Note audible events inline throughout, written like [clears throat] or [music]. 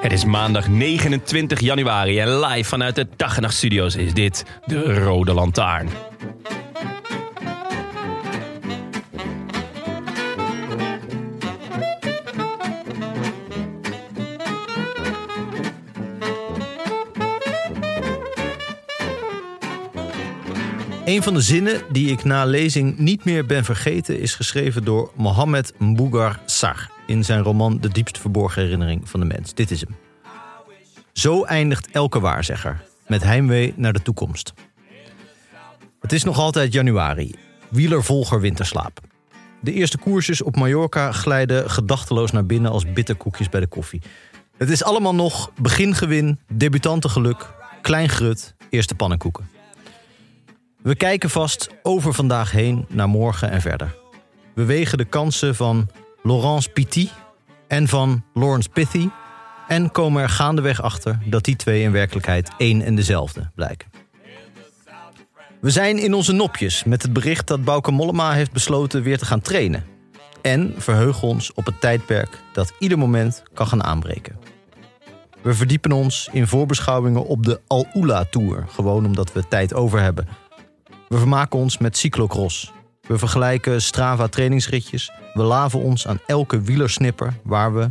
Het is maandag 29 januari en live vanuit de Dag en Nacht Studios is dit de Rode Lantaarn. Een van de zinnen die ik na lezing niet meer ben vergeten is geschreven door Mohammed Mbougar Sar in zijn roman De diepst verborgen herinnering van de mens. Dit is hem. Zo eindigt elke waarzegger met heimwee naar de toekomst. Het is nog altijd januari. Wielervolger winterslaap. De eerste koersjes op Mallorca glijden gedachteloos naar binnen als bitterkoekjes bij de koffie. Het is allemaal nog begingewin, debutantengeluk, klein grut, eerste pannenkoeken. We kijken vast over vandaag heen naar morgen en verder. We wegen de kansen van Laurence Pity en van Lawrence Pithy en komen er gaandeweg achter dat die twee in werkelijkheid één en dezelfde blijken. We zijn in onze nopjes met het bericht dat Bauke Mollema heeft besloten weer te gaan trainen. En verheugen ons op het tijdperk dat ieder moment kan gaan aanbreken. We verdiepen ons in voorbeschouwingen op de Al-Ula-tour, gewoon omdat we tijd over hebben. We vermaken ons met cyclocross. We vergelijken Strava trainingsritjes. We laven ons aan elke wielersnipper waar we,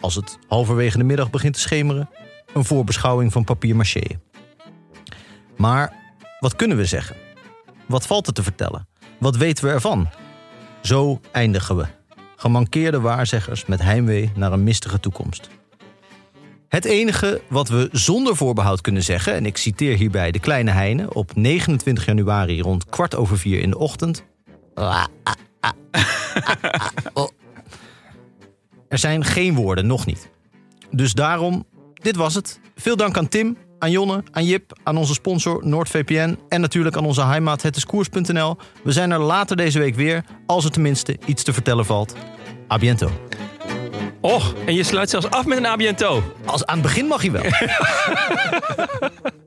als het halverwege de middag begint te schemeren, een voorbeschouwing van papier macheën. Maar wat kunnen we zeggen? Wat valt er te vertellen? Wat weten we ervan? Zo eindigen we. Gemankeerde waarzeggers met heimwee naar een mistige toekomst. Het enige wat we zonder voorbehoud kunnen zeggen, en ik citeer hierbij de kleine Heine op 29 januari rond kwart over vier in de ochtend. Er zijn geen woorden, nog niet. Dus daarom, dit was het. Veel dank aan Tim, aan Jonne, aan Jip, aan onze sponsor NoordVPN en natuurlijk aan onze heimaat hetiskoers.nl. We zijn er later deze week weer, als er tenminste iets te vertellen valt. A biento. Och, en je sluit zelfs af met een abiento. Als, aan het begin mag je wel.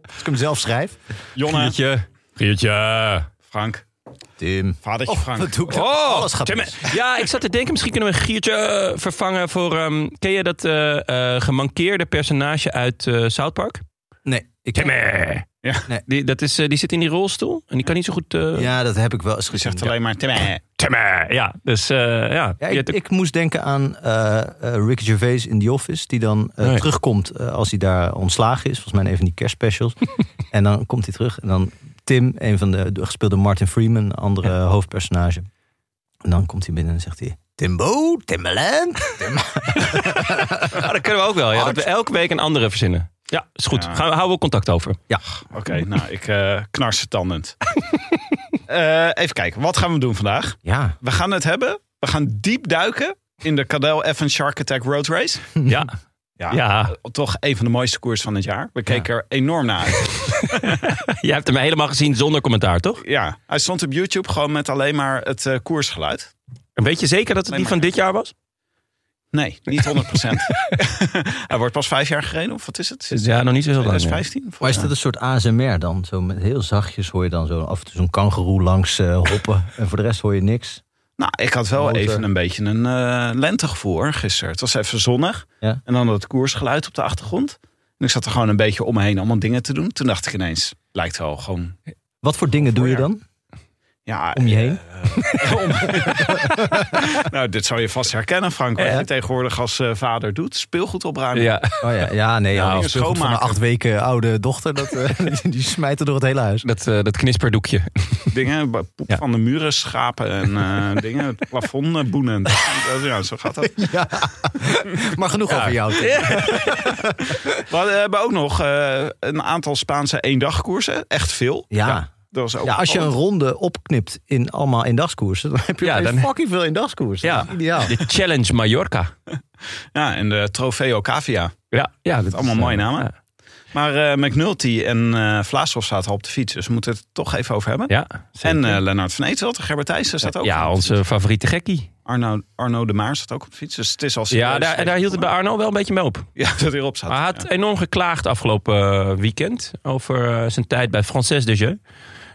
Als ik hem zelf schrijf. Jonna, Giertje. Giertje. Eh, Frank, Tim. vadertje Frank. Wat doe ik nou? Oh, Alles gaat Tim, mis. Ja, ik zat te denken, misschien kunnen we Giertje eh, vervangen voor... ehm, ken je dat eh, eh, gemankeerde personage uit eh South Park? Nee, ik Tim, Ja. Nee. Die, dat is, eh, die zit in die rolstoel en die kan niet zo goed... eh Ja, dat heb ik wel eens Je gezegd. zegt alleen maar... Oh. Timmer. Timmer. Ja, dus eh, ja. Ja, Je ik, hebt- ik moest denken aan eh, eh, Ricky Gervais in The Office. Die dan eh, Nee. terugkomt eh, als hij daar ontslagen is. Volgens mij in een van die kerstspecials. en dan komt hij terug. En dan Tim, een van de, de gespeelde Martin Freeman, een andere hoofdpersonage. En dan komt hij binnen en zegt hij... Timbo, Timbaland. Ah, dat kunnen we ook wel. Ja, dat we elke week een andere verzinnen. Ja, is goed. Ja. Gaan, houden we contact over. Ja, Oké, nou, ik eh knars [laughs] het tandend. Eh, even kijken, wat gaan we doen vandaag? ja. We gaan het hebben, we gaan diep duiken in de Cadel Evans Shark Attack Road Race. [laughs] Ja. Ja. Toch een van de mooiste koers van het jaar. We keken er enorm naar uit. Jij hebt hem helemaal gezien zonder commentaar, toch? Ja, hij stond op YouTube gewoon met alleen maar het eh, koersgeluid. En weet je zeker dat het Nee, die van dit jaar was? Nee, niet [laughs] 100%. [laughs] hij wordt pas vijf jaar gereden, of wat is het? Sinds Ja, nog niet zo heel lang. 2015? Maar is volgens dat een soort ASMR dan? Zo met heel zachtjes hoor je dan zo af en toe zo'n kangeroe langs eh, hoppen. [laughs] en voor de rest hoor je niks. Nou, ik had wel Roze. even een beetje een eh, lentegevoel hoor, gisteren. Het was even zonnig. Ja. En dan dat koersgeluid op de achtergrond. En ik zat er gewoon een beetje om me heen allemaal dingen te doen. Toen dacht ik ineens, lijkt wel gewoon... Oh Wat voor dingen doe je dan? Ja, eh, om je heen. nou, dit zou je vast herkennen, Frank. Wat Ja. je tegenwoordig als eh, vader doet. Speelgoed opruimen. Ja. Oh ja, ja nee, ja, Nou, als speelgoed van een schoonmaken. acht weken oude dochter, dat, [laughs] eh, die- die smijt er door het hele huis. Dat, eh, dat knisperdoekje. Dingen, b- poep Ja. van de muren schapen [laughs] en eh, dingen. Het plafond eh, boenen. Dat- ja, zo gaat dat. Maar genoeg over jou. Tim. We hadden- hebben ook nog eh, een aantal Spaanse eendagkoersen. Echt veel. Ja. dat was ook Ja, als je een opvallend. ronde opknipt in allemaal eendagskoersen, dan heb je Ja, ja, dan- fucking veel eendagskoersen. Ja. Dat is [laughs] ideaal. De Challenge Mallorca. ja, en de Trofeo Cavia. Ja, ja dat is, Allemaal eh, mooie namen. ja. Maar eh, McNulty en eh Vlaashoff zaten al op de fiets. Dus we moeten het toch even over hebben. Ja, en zeker. eh Lennart van Eetveld, Gerber Thijssen staat ook ja, op de fiets. onze favoriete gekkie. Arno, Arno de Maar staat ook op de fiets. Dus het is al Ja, serieus. daar, daar hield het bij Arno wel een beetje mee op. Ja, dat hij erop staat. Hij had enorm geklaagd afgelopen eh, weekend over eh, zijn tijd bij Française de Jeu.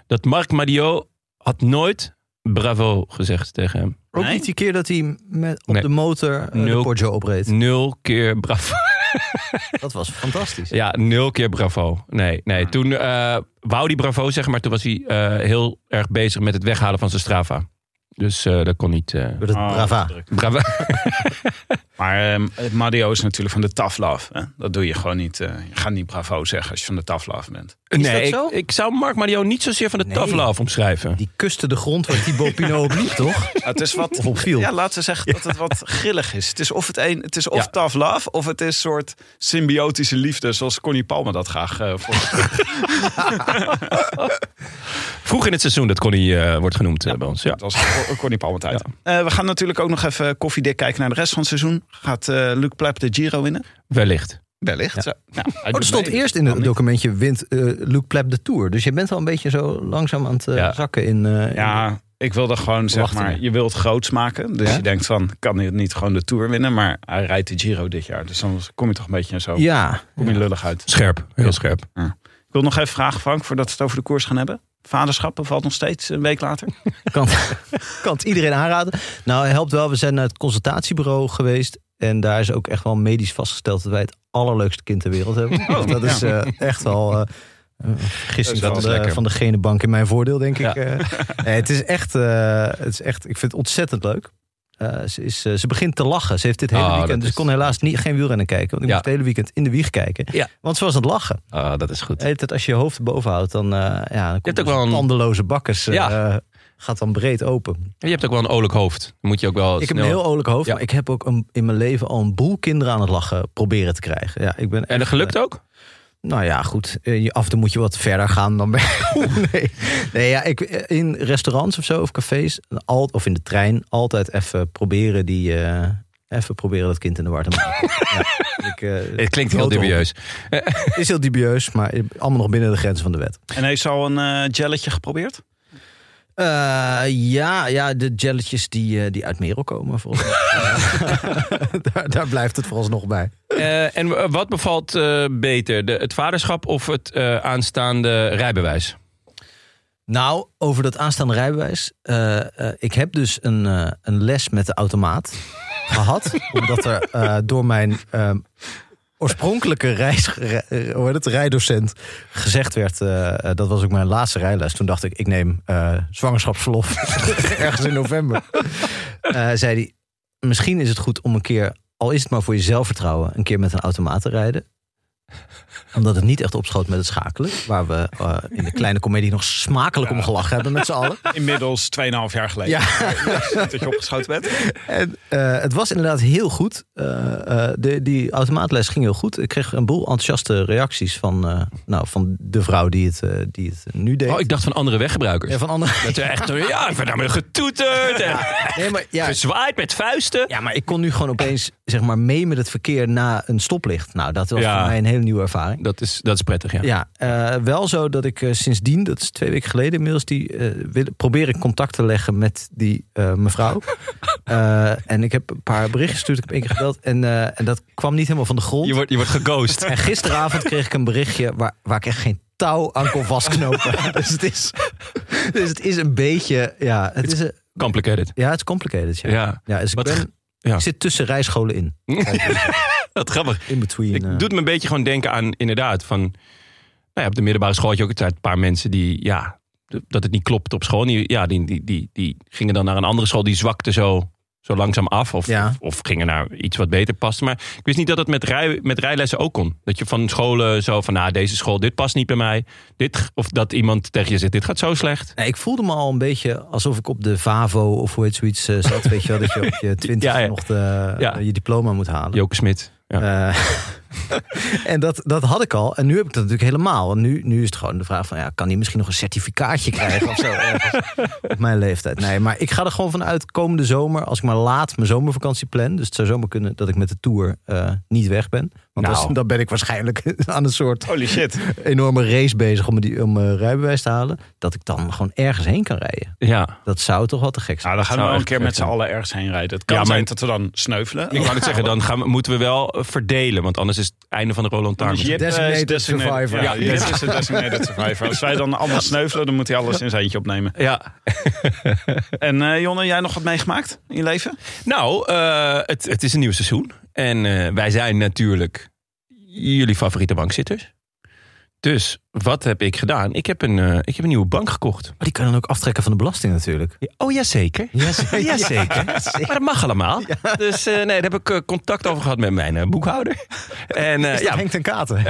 Dat Marc Madio had nooit bravo gezegd tegen hem. Ook Nee. niet die keer dat hij met, op Nee. de motor eh, Nul. de Poggio opreed. Nul keer bravo. [laughs] Dat was fantastisch. Ja, nul keer bravo. Nee, nee. Ah. Toen eh, wou hij bravo zeggen, maar toen was hij eh, heel erg bezig met het weghalen van zijn strava. Dus eh, dat kon niet. eh, Door dat Oh, brava. druk. bravo. Maar ehm Mario is natuurlijk van de taflaf. Hè? Dat doe je gewoon niet. eh, je gaat niet bravo zeggen als je van de taflaf bent. nee, zo? Ik, ik zou Marc Madio niet zozeer van de Nee. tafel af omschrijven. Die kuste de grond waar Thibaut Pinot op [laughs] liep, toch? Ja, het is wat. Of op viel. Ja, laten we zeggen dat het wat grillig is. Het is of, het een, het is of Ja. tough love, of het is een soort symbiotische liefde, zoals Connie Palmer dat graag eh voor. Vroeg in het seizoen, dat kon hij eh, wordt genoemd eh, bij ons. Ja. Dat was Cor- Connie Palmer tijd. Eh, we gaan natuurlijk ook nog even koffiedik kijken naar de rest van het seizoen. Gaat eh Luc Plep de Giro winnen? Wellicht. Wellicht. Zo. Ja, hij Oh, doet er stond mee. eerst in het documentje wint eh Luc Plep de Tour. Dus je bent al een beetje zo langzaam aan het eh, Ja. zakken in... eh, Ja, ik wilde gewoon zeg Verwachtingen. maar, je wilt groots maken. Dus je denkt van, kan hij niet gewoon de Tour winnen? Maar hij rijdt de Giro dit jaar. Dus dan kom je toch een beetje zo, in- ja. kom je lullig uit. Scherp. Heel scherp. Ik wil nog even vragen, Frank, voordat we het over de koers gaan hebben. Vaderschappen valt nog steeds een week later. Kan, [laughs] kan het iedereen aanraden. Nou, het helpt wel. We zijn naar het consultatiebureau geweest. En daar is ook echt wel medisch vastgesteld dat wij het allerleukste kind ter wereld hebben. Oh, Dus dat is eh, echt wel eh, een vergissing Dat van, is de, lekker. van de genenbank in mijn voordeel, denk Ja. ik. eh. [laughs] nee, het, is echt, eh, het is echt, ik vind het ontzettend leuk. Eh, ze, is, eh, ze begint te lachen. Ze heeft dit hele Oh, dat weekend, dus is- ik kon helaas niet, geen wielrennen kijken. Want ik Ja. moest het hele weekend in de wieg kijken. Ja. Want ze was aan het lachen. Ah, dat is goed. De hele tijd als je je hoofd boven houdt, dan, eh ja, dan komt ook er wel zo'n een- tandeloze bakkers. eh, Ja. gaat dan breed open. Je hebt ook wel een olijk hoofd. Dan moet je ook wel Ik heb snel- een heel oorlijk hoofd, Ja. maar ik heb ook een, in mijn leven al een boel kinderen aan het lachen proberen te krijgen. Ja, ik ben En dat echt, gelukt ook? eh, nou ja, goed. eh, je- Af en toe moet je wat verder gaan dan bij. [laughs] [laughs] nee. nee, ja, ik, eh, in restaurants of zo, of cafés, al, of in de trein, altijd even proberen die. eh, even proberen dat kind in de war te maken. [laughs] ja, ik, eh, Het klinkt heel grote dubieus. hond. is heel dubieus, maar allemaal nog binnen de grenzen van de wet. En heeft ze al een eh jelletje geprobeerd? Eh, ja, ja, de jelletjes die, eh, die uit Merel komen, volgens mij. [laughs] daar, daar blijft het vooralsnog bij. Eh, en eh, wat bevalt eh, beter, de, het vaderschap of het eh, aanstaande rijbewijs? Nou, over dat aanstaande rijbewijs. eh, eh, ik heb dus een, eh, een les met de automaat gehad. Omdat er eh, door mijn eh, oorspronkelijke reis, re- eh, hoe heet het, rijdocent gezegd werd... eh, eh, dat was ook mijn laatste rijles. Toen dacht ik, ik neem eh, zwangerschapsverlof [laughs] ergens in november. Eh, zei hij, misschien is het goed om een keer... al is het maar voor je zelfvertrouwen... een keer met een automaat te rijden omdat het niet echt opschoot met het schakelen. Waar we eh, in de kleine komedie nog smakelijk om gelachen hebben met z'n [laughs] allen. Inmiddels 2,5 jaar geleden. Ja. Dat je opgeschoten bent. En, eh, het was inderdaad heel goed. Eh, eh, de, die automaatles ging heel goed. Ik kreeg een boel enthousiaste reacties van, eh, nou, van de vrouw die het, eh, die het nu deed. Oh, ik dacht van andere weggebruikers. Ja, van andere... Dat er echt, eh, ja, ik werd daarmee getoeterd en [laughs] Nee, maar, ja, gezwaaid met vuisten. ja, maar ik kon nu gewoon opeens zeg maar, mee met het verkeer na een stoplicht. Nou, dat was Ja. voor mij een hele nieuwe ervaring. Dat is, dat is prettig, ja. Ja, eh, wel zo dat ik eh, sindsdien, dat is twee weken geleden inmiddels, die, eh, wil, probeer ik contact te leggen met die [laughs] eh, mevrouw. Eh, en ik heb een paar berichten gestuurd, ik heb één keer gebeld en, eh, en dat kwam niet helemaal van de grond. Je wordt, je wordt [laughs] geghost. En gisteravond kreeg ik een berichtje waar, waar ik echt geen touw aan kon [laughs] vastknopen. dus, het is, dus het is een beetje, ja, het is, een- Complicated. ja, het is complicated. Ja, Ja. ja dus ik, Wat ben, ge- ja. ik zit tussen rijscholen in. Wat grappig. In between. Ik eh, doet me een beetje gewoon denken aan inderdaad van... Nou ja, op de middelbare school had je ook altijd een paar mensen die... Ja, dat het niet klopt op school. Die, ja, die, die, die, die gingen dan naar een andere school. Die zwakte zo, zo langzaam af. Of, Ja. of, of gingen naar iets wat beter paste. Maar ik wist niet dat het met, rij, met rijlessen ook kon. Dat je van scholen zo van, nou, deze school, dit past niet bij mij. Dit, of dat iemand tegen je zegt, dit gaat zo slecht. Nee, ik voelde me al een beetje alsof ik op de VAVO of hoe heet zoiets eh, zat. Weet je wel, dat je op [laughs] je twintig Ja, ja. nog de- eh, Ja. je diploma moet halen. Joke Smit. Ja. Eh, en dat, dat had ik al. En nu heb ik dat natuurlijk helemaal. Want nu, nu is het gewoon de vraag van... Ja, kan die misschien nog een certificaatje [laughs] krijgen of zo? ergens op mijn leeftijd. Nee, maar ik ga er gewoon vanuit komende zomer... als ik maar laat mijn zomervakantie plan... dus het zou zomaar kunnen dat ik met de tour eh, niet weg ben. Want Nou. als- dan ben ik waarschijnlijk [laughs] aan een soort Holy shit. enorme race bezig... om, die, om mijn rijbewijs te halen. Dat ik dan gewoon ergens heen kan rijden. ja. Dat zou toch wat te gek zijn. Nou, dan gaan we zou wel een echt keer vet met z'n zijn. allen ergens heen rijden. Het kan Ja, maar- zijn dat we dan sneuvelen. Ik wou net zeggen, dan gaan we, moeten we wel eh, verdelen. Want anders is het einde van de Roland Dus Tarn. Jip, eh, is Designated designated- survivor. Ja, Ja, Jip is de designated survivor. Als wij dan [laughs] allemaal sneuvelen, dan moet hij alles in zijn eentje opnemen. Ja, En eh, Jonne, jij nog wat meegemaakt in je leven? Nou, eh, het, het is een nieuw seizoen. En eh, wij zijn natuurlijk jullie favoriete bankzitters. Dus wat heb ik gedaan? Ik heb een, eh, ik heb een nieuwe bank gekocht. Maar die kan je dan ook aftrekken van de belasting natuurlijk. Oh, jazeker. [laughs] Jazeker. Jazeker. Maar dat mag allemaal. Dus eh, nee, daar heb ik eh, contact over gehad met mijn eh, [laughs] boekhouder. En, eh, ja, Henk ten Katen.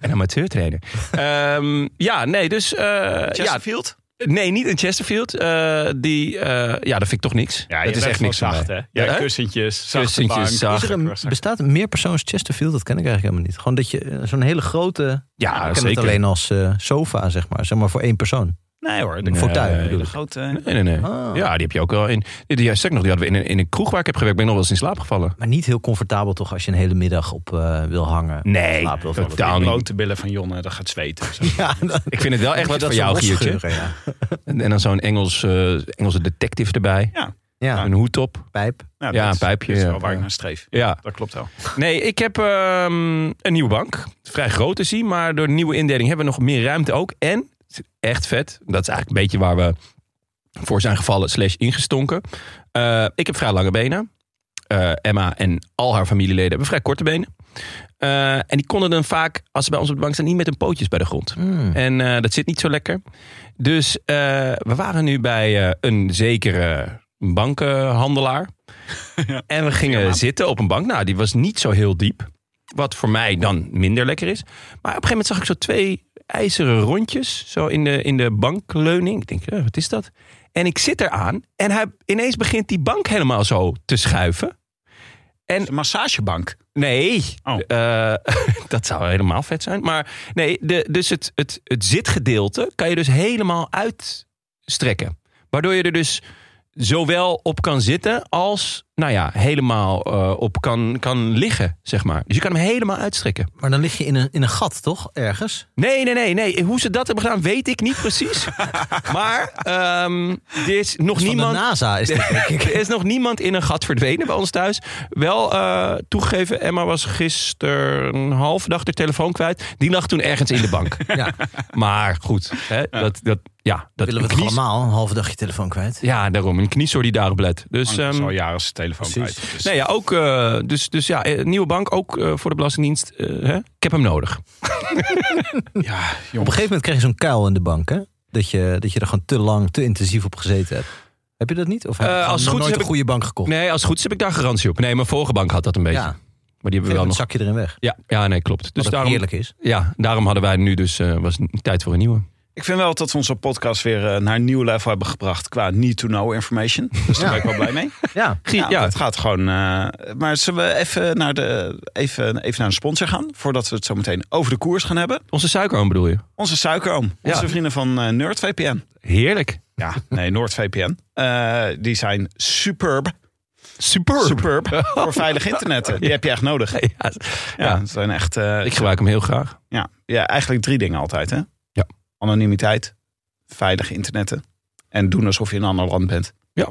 en amateurtrainer. Ehm, ja, nee, dus... eh, ja, Chesterfield? nee, niet in Chesterfield. Eh, die, eh, ja, dat vind ik toch niks. dat is echt niks van zacht, mij. Eh? hè? Ja, Hè? kussentjes, zachte Kussentjes, bank. zacht. Is er een, bestaat een meerpersoons Chesterfield? Dat ken ik eigenlijk helemaal niet. Gewoon dat je eh, zo'n hele grote... Ja, ik ken het zeker. alleen als eh, sofa, zeg maar. Zeg maar voor één persoon. Nee hoor, de Nee. Fauteuil bedoel hele ik. grote... Nee, nee, nee. Ah. Ja, die heb je ook wel in. Die, die, sterk nog, die hadden we in een, in een kroeg waar ik heb gewerkt. Ben ik nog wel eens in slaap gevallen. Maar niet heel comfortabel toch als je een hele middag op eh, wil hangen. Nee, Slaap wil vallen. totaal Die niet. blote billen van Jonne, dat gaat [laughs] zweten. en zo. [laughs] Ja, dat, Ik vind het wel echt wat voor zo'n jou, Giertje. rotgeur, Ja. En, en dan zo'n Engels, eh, Engelse detective erbij. ja, Een hoed op. pijp. Nou, Ja, dat een is- pijpje, Dat is ja. wel waar ik naar streef. Ja. Dat klopt wel. Nee, ik heb ehm, een nieuwe bank. Vrij groot is die, maar door de nieuwe indeling hebben we nog meer ruimte ook. En, echt vet, dat is eigenlijk een beetje waar we voor zijn gevallen slash ingestonken. Eh, ik heb vrij lange benen. Eh, Emma en al haar familieleden hebben vrij korte benen. Eh, en die konden dan vaak, als ze bij ons op de bank staan, niet met hun pootjes bij de grond. Mm. En eh, dat zit niet zo lekker. Dus eh, we waren nu bij eh, een zekere bankenhandelaar. En we gingen zitten op een bank. Nou, die was niet zo heel diep. Wat voor mij dan minder lekker is. Maar op een gegeven moment zag ik zo twee ijzeren rondjes. Zo in de, in de bankleuning. Ik denk, eh, wat is dat? En ik zit eraan. En hij, ineens begint die bank helemaal zo te schuiven. Het is Een massagebank. Nee, Oh. Eh, [laughs] dat zou helemaal vet zijn. Maar nee, de, dus het, het, het zitgedeelte kan je dus helemaal uitstrekken. Waardoor je er dus zowel op kan zitten als, nou ja, helemaal eh, op kan, kan liggen, zeg maar. Dus je kan hem helemaal uitstrekken. Maar dan lig je in een, in een gat, toch? Ergens? Nee, nee, nee, nee. Hoe ze dat hebben gedaan, weet ik niet precies. maar ehm er is nog Van niemand... de NASA is dit, denk ik. [laughs] Er is nog niemand in een gat verdwenen bij ons thuis. Wel eh, toegegeven, Emma was gisteren een halve dag de telefoon kwijt. Die lag toen ergens in de bank. Ja, maar goed, hè, dat, dat, ja, dat willen we een toch knies- allemaal een halve dag je telefoon kwijt? Ja, daarom. Een kniesoor die daarop let. Dus, Hangt dus ehm, al jaren zijn telefoon precies. kwijt. Dus- nee, ja, ook, eh, dus, dus ja, eh, nieuwe bank, ook eh, voor de Belastingdienst. eh, hè? Ik heb hem nodig. Ja, Op een jongen. gegeven moment krijg je zo'n kuil in de bank, hè? Dat je, dat je er gewoon te lang, te intensief op gezeten hebt. Heb je dat niet? Of heb je Eh, gewoon als het goed nog is nooit heb een ik- goede bank gekocht? Nee, als het goed is heb ik daar garantie op. Nee, mijn vorige bank had dat een beetje. ja, Maar die hebben we wel dan nog. zak je erin weg. Ja, ja, nee, klopt. Dus Wat ook daarom, heerlijk is. ja, daarom hadden wij nu dus, eh, was het tijd voor een nieuwe. Ik vind wel dat we onze podcast weer eh, naar een nieuw level hebben gebracht qua need-to-know information. Dus daar ben ik wel blij mee. Ja, [laughs] Gie- [laughs] ja, het gaat gewoon. eh, maar zullen we even naar, de, even, even naar een sponsor gaan? Voordat we het zo meteen over de koers gaan hebben. onze suikeroom bedoel je? Onze suikeroom. Ja. Onze vrienden van eh, NordVPN. Heerlijk. Ja, nee, NordVPN. Eh, die zijn superb. Superb. Superb. Voor veilig [laughs] internetten. Die heb je echt nodig. Ja, ja. Ja, ze zijn echt. eh, ik gebruik hem heel graag. ja, ja, eigenlijk drie dingen altijd, hè? Ja. Anonimiteit, veilig internetten en doen alsof je in een ander land bent. Ja.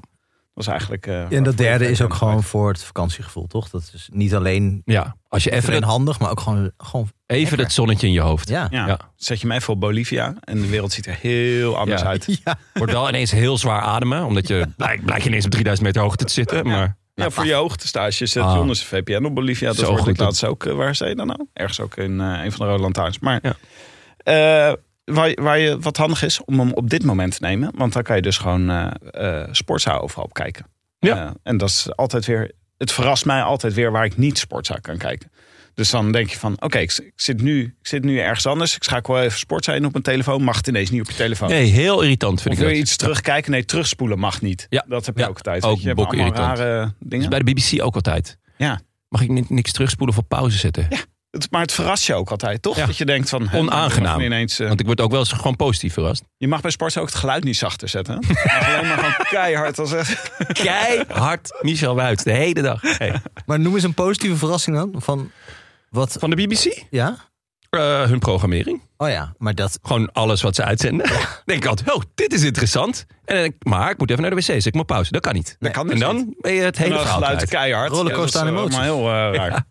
Dat is eigenlijk... eh, en waarvoor dat derde je is ook bent. gewoon voor het vakantiegevoel, toch? Dat is niet alleen, Ja, als je even, even het, handig, maar ook gewoon, gewoon even dat zonnetje in je hoofd. ja. Ja. Ja. zet je hem even op Bolivia en de wereld ziet er heel anders Ja. uit. Wordt wel ineens heel zwaar ademen, omdat [laughs] je blijkt blijk je ineens op 3000 meter hoogte te zitten. Maar Ja, voor je hoogtestage zet Nou, Ah. Jonas VPN op Bolivia. Dat Zo hoorde goed. ik laatst ook. eh, Waar zei je dan nou? Ergens ook in eh, een van de Rode Lantaarns. Maar Ja. eh, waar, waar je, wat handig is om hem op dit moment te nemen. Want dan kan je dus gewoon eh eh, sportza overal op kijken. Ja. Eh, en dat is altijd weer. Het verrast mij altijd weer waar ik niet sportza kan kijken. Dus dan denk je van, oké, ik, ik zit nu, ik zit nu ergens anders. Ik schakel wel even sportza in op mijn telefoon. Mag het ineens niet op je telefoon. Nee, heel irritant vind ik Of wil dat. je iets terugkijken? Nee, terugspoelen mag niet. Ja. Dat heb je Ja. ook altijd. Ook weet je, je hebt allemaal bokirritant. rare dingen. Dat is bij de BBC ook altijd. Ja. Mag ik ni- niks terugspoelen of op pauze zetten? Het- maar het verrast je ook altijd, toch? Ja. Dat je denkt van... hè, Onaangenaam. je mag Ineens, eh, Want ik word ook wel eens gewoon positief verrast. je mag bij sports ook het geluid niet zachter zetten. [laughs] hè? Maar Alleen maar gewoon keihard als echt... Keihard Michel Wuits, de hele dag. Hey. Maar noem eens een positieve verrassing dan. Van wat? Van de BBC? Ja? Eh, hun programmering. Oh ja, maar dat. Gewoon alles wat ze uitzenden. denk [laughs] ik altijd, oh, dit is interessant. En dan denk ik, maar ik moet even naar de wc, dus ik moet pauze. Dat kan niet. Dat kan dus en niet. dan ben je het En hele dan verhaal geluid kwijt. keihard. Rollercoaster Ja, aan dat is, eh, allemaal heel eh, raar.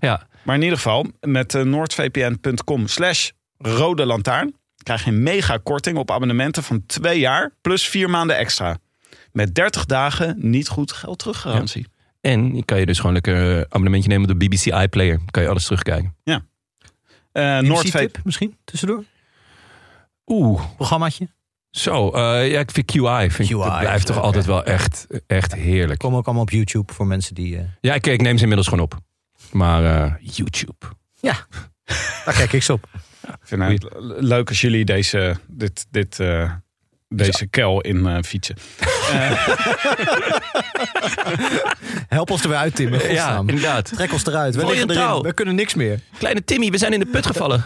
Ja. Maar in ieder geval, met eh, noordvpn.com slash rode lantaarn... krijg je een mega korting op abonnementen van twee jaar... plus vier maanden extra. Met 30 dagen niet goed geld teruggarantie. En je kan je dus gewoon lekker eh, abonnementje nemen op de BBC iPlayer. Dan kan je alles terugkijken. Eh Noordvpn... tip misschien tussendoor? Oeh, Programmaatje. zo. eh, ja, ik vind QI, vind ik, dat QI, blijft toch leuk, altijd hè? wel echt, echt heerlijk. Komen ook allemaal op YouTube voor mensen die. eh, Ja, ik, ik neem ze inmiddels gewoon op. Maar eh, YouTube. Daar kijk ik ze op. Ik vind het le- leuk als jullie deze, dit, dit, eh, deze kel in eh, fietsen. Help ons er weer uit, Tim. in Ja, godsnaam. inderdaad. Trek ons eruit. We Voor liggen je erin. taal. We kunnen niks meer. Kleine Timmy, we zijn in de put gevallen.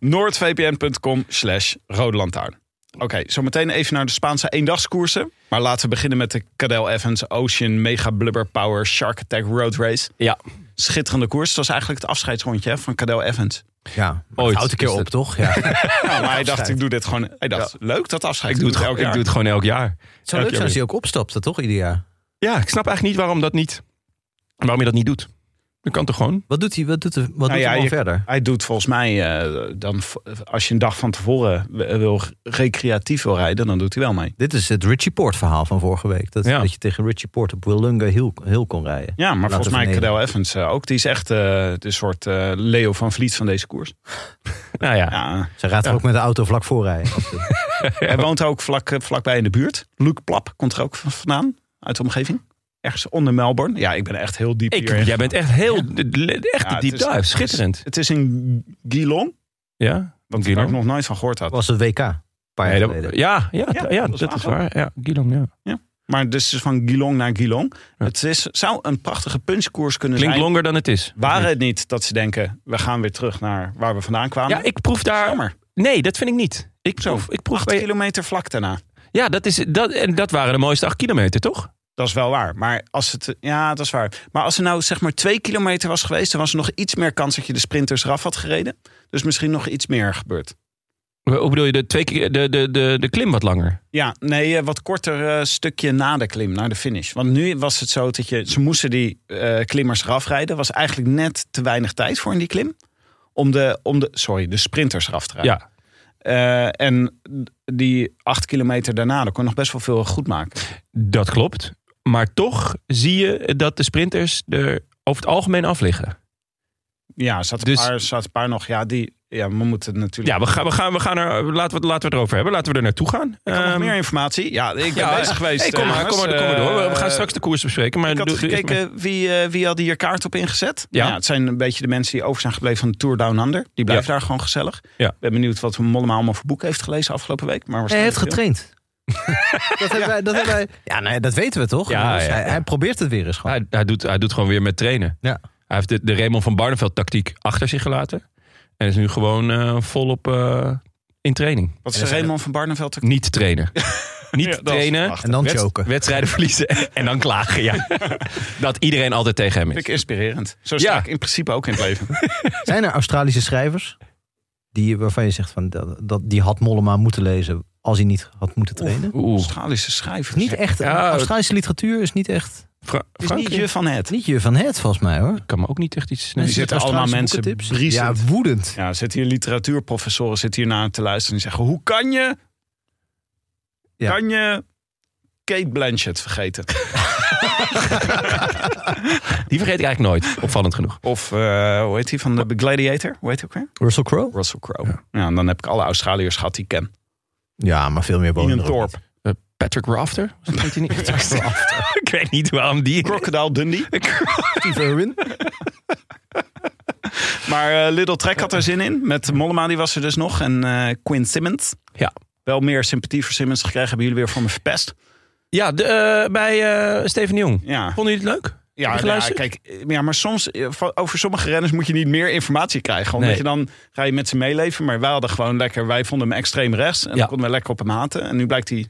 Noordvpn.com slash rode lantaarn. Oké, zometeen even naar de Spaanse eendagskoersen. Maar laten we beginnen met de Cadel Evans Ocean Mega Blubber Power Shark Attack Road Race. Ja, Schitterende koers. Dat was eigenlijk het afscheidsrondje hè, van Cadel Evans. Ja, Ooit. Houd een keer Is op, dat- [laughs] toch? Ja. Nou, maar hij dacht, ik doe dit gewoon. Hij dacht, leuk dat afscheid. ik doe, het elk gewoon, ik jaar. doe het gewoon elk jaar. Het zou Elk leuk jaar zijn als weer. hij ook opstapte, toch? Ieder jaar. Ja, ik snap eigenlijk niet waarom dat niet. Waarom je dat niet doet. Dat kan toch gewoon? Wat doet hij? Wat doet, hij- Nou wat doet ja, hij dan je- verder? Hij doet volgens mij, eh, dan, v- als je een dag van tevoren eh, wil, recreatief wil rijden, dan doet hij wel mee. Dit is het Richie Poort verhaal van vorige week. Dat, Ja. dat je tegen Richie Poort op Willunga Hill, Hill kon rijden. Ja, maar Laten volgens we mij vernederen. Cadel Evans eh, ook. Die is echt eh, de soort eh, Leo van Vliet van deze koers. Nou ja. Ja. Ze raadt er ook met de auto vlak voor rijden. [laughs] Hij woont ook vlak, eh, vlakbij in de buurt. Luc Plap komt er ook v- vandaan, uit de omgeving. Ergens onder Melbourne. Ja, ik ben echt heel diep Ik, hier. jij bent echt heel. de- de- Echt Ja, een deep het is- dive. Schitterend. Het is in Geelong. Ja? Wat ik Geelong? ook nog nooit van gehoord had. was het WK. Een paar jaar Nee, dat- geleden. ja, ja, ja, dat dat, is is waar. waar. Ja, Guillaume, ja. Maar dus het is van Geelong naar Geelong. Ja. Het is, zou een prachtige punchkoers kunnen Klinkt zijn. longer dan het is. Waren het niet dat ze denken, we gaan weer terug naar waar we vandaan kwamen. Ja, ik proef daar. Jammer. Nee, dat vind ik niet. Ik Zo, proef, ik proef Acht bij, kilometer vlak daarna. ja, dat, is, dat, en dat waren de mooiste acht kilometer, toch? Dat is wel waar. Maar als het. Ja, dat is waar. Maar als er nou zeg maar twee kilometer was geweest, dan was er nog iets meer kans dat je de sprinters eraf had gereden. Dus misschien nog iets meer gebeurd. Hoe bedoel je, de, twee, keer- de, de, de, de klim wat langer? Ja, nee, eh, wat korter eh, stukje na de klim, naar de finish. Want nu was het zo dat je. Ze moesten die eh, klimmers eraf rijden. Was eigenlijk net te weinig tijd voor in die klim. Om de, om de, sorry, de sprinters eraf te rijden. Ja, Eh, en die acht kilometer daarna, daar kon je nog best wel veel goed maken. Dat klopt. Maar toch zie je dat de sprinters er over het algemeen af liggen. Ja, er zaten, Dus- een, paar, er zaten een paar nog. Ja, die, ja, we moeten natuurlijk. Ja, we gaan, we gaan, we gaan er, laten, we, laten we het erover hebben. Laten we er naartoe gaan. Ik had nog Ehm, meer informatie. Ja, ik ben ja, eh, bezig geweest. eh, hey, kom, maar, kom, maar, kom maar door. We- We gaan straks de koers bespreken. Maar Ik had doe- doe eerst maar. gekeken wie, eh, wie had hier kaart op ingezet. Ja. Nou het zijn een beetje de mensen die over zijn gebleven van de Tour Down Under. Die blijven daar gewoon gezellig. Ja. Ik ben benieuwd wat Mollema allemaal voor boek heeft gelezen afgelopen week. Maar Hij heeft waarschijnlijk veel. [laughs] getraind. dat, hebben wij, dat, hebben wij, ja, nee, dat weten we toch? Ja, Dus ja, hij, ja. hij probeert het weer eens gewoon. hij, hij, doet, hij doet gewoon weer met trainen. Ja. Hij heeft de, de Raymond van Barneveld tactiek achter zich gelaten. En is nu gewoon eh, volop eh, in training. Wat is Raymond van Barneveld? ook- Niet [laughs] trainen. Niet Ja, dat is trainen. prachtig. en dan wedst- choken. Wedstrijden [laughs] verliezen en dan klagen. Ja. dat iedereen altijd tegen hem Vind ik is. inspirerend. Zo sta Ja. ik in principe ook in het leven. Zijn er Australische schrijvers die, waarvan je zegt van dat, dat die had Mollema moeten lezen als hij niet had moeten trainen? Oeh. Australische schrijver. Niet echt. Ja, Australische literatuur is niet echt. Fra Het is niet Frankrijk? je van het. Niet je van het volgens mij hoor. Ik kan me ook niet echt iets... Er Nee. zitten allemaal Australische mensen boekentips? briesend. Ja, woedend. Ja, er zitten hier literatuurprofessoren zitten hier naar te luisteren. En die zeggen, hoe kan je... Ja. Kan je Kate Blanchett vergeten? Die vergeet ik eigenlijk nooit, opvallend genoeg. Of eh, hoe heet hij van de Gladiator? Hoe heet hij ook weer? Russell Crowe? Russell Crowe. Ja. en dan heb ik alle Australiërs gehad die ik ken. Ja, maar veel meer In wonen een er ook dorp. niet. Eh, Patrick Rafter? Was dat [laughs] niet? [laughs] ik weet niet waarom die... Crocodile Dundee. Steve Irwin? Maar eh, Little Trek had er zin in. Met Mollema die was er dus nog. En eh Quinn Simmons. Ja. Wel meer sympathie voor Simmons gekregen. Hebben jullie weer voor me verpest. Ja, de, eh, bij eh Steven de Jong. Ja. Vonden jullie het leuk? Ja, Heb je nou ja, geluisterd? kijk, eh, ja, maar soms eh, van- over sommige renners moet je niet meer informatie krijgen. Omdat Nee. je dan ga je met ze meeleven. Maar wij hadden gewoon lekker, wij vonden hem extreem rechts. En Ja. dan konden we lekker op hem haten. En nu blijkt hij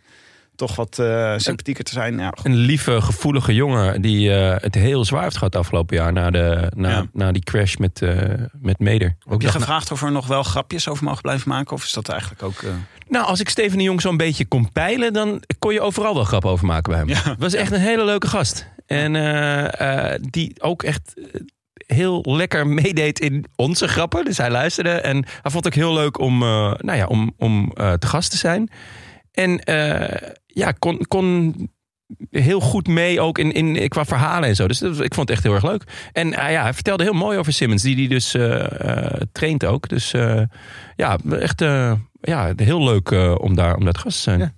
toch wat eh, sympathieker te zijn. Ja, goed. Een lieve, gevoelige jongen die eh, het heel zwaar heeft gehad afgelopen jaar. Na, de, na, Ja. na die crash met, eh, met Meder. Ook Heb je dacht, gevraagd of er nog wel grapjes over mogen blijven maken? Of is dat eigenlijk ook... eh, Nou, als ik Steven de Jong zo'n beetje kon peilen, dan kon je overal wel grap over maken bij hem. Ja. Was echt een hele leuke gast. En eh, eh, die ook echt eh, heel lekker meedeed in onze grappen. Dus hij luisterde en hij vond het ook heel leuk om, eh, nou ja, om, om eh, te gast te zijn. En eh, ja, kon, kon heel goed mee ook in, in, qua verhalen en zo. Dus dat- ik vond het echt heel erg leuk. En ah ja, hij vertelde heel mooi over Simmons, die die dus eh, eh, traint ook. Dus eh, ja, echt eh, ja, heel leuk eh, om daar om dat gast te zijn. Ja.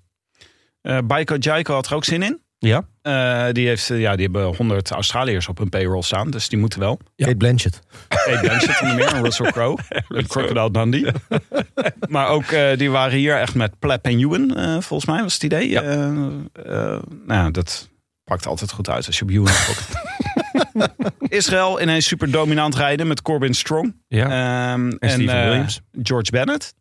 eh Baiko Jaiko had er ook zin in. Ja. Eh, die, heeft, eh, ja, die hebben 100 Australiërs op hun payroll staan. Dus die moeten [laughs] wel. Kate Blanchett. Kate Blanchett onder meer en Russell [laughs] Crowe. en Crocodile [laughs] Dundee. maar ook eh, die waren hier echt met Plep en Ewan, eh, volgens mij was het idee. Ja. Eh, eh, nou ja, dat pakt altijd goed uit als je op Ewan gokt. [laughs] Israël ineens super dominant rijden met Corbin Strong. Ehm, en Steven eh, Williams. George Bennett.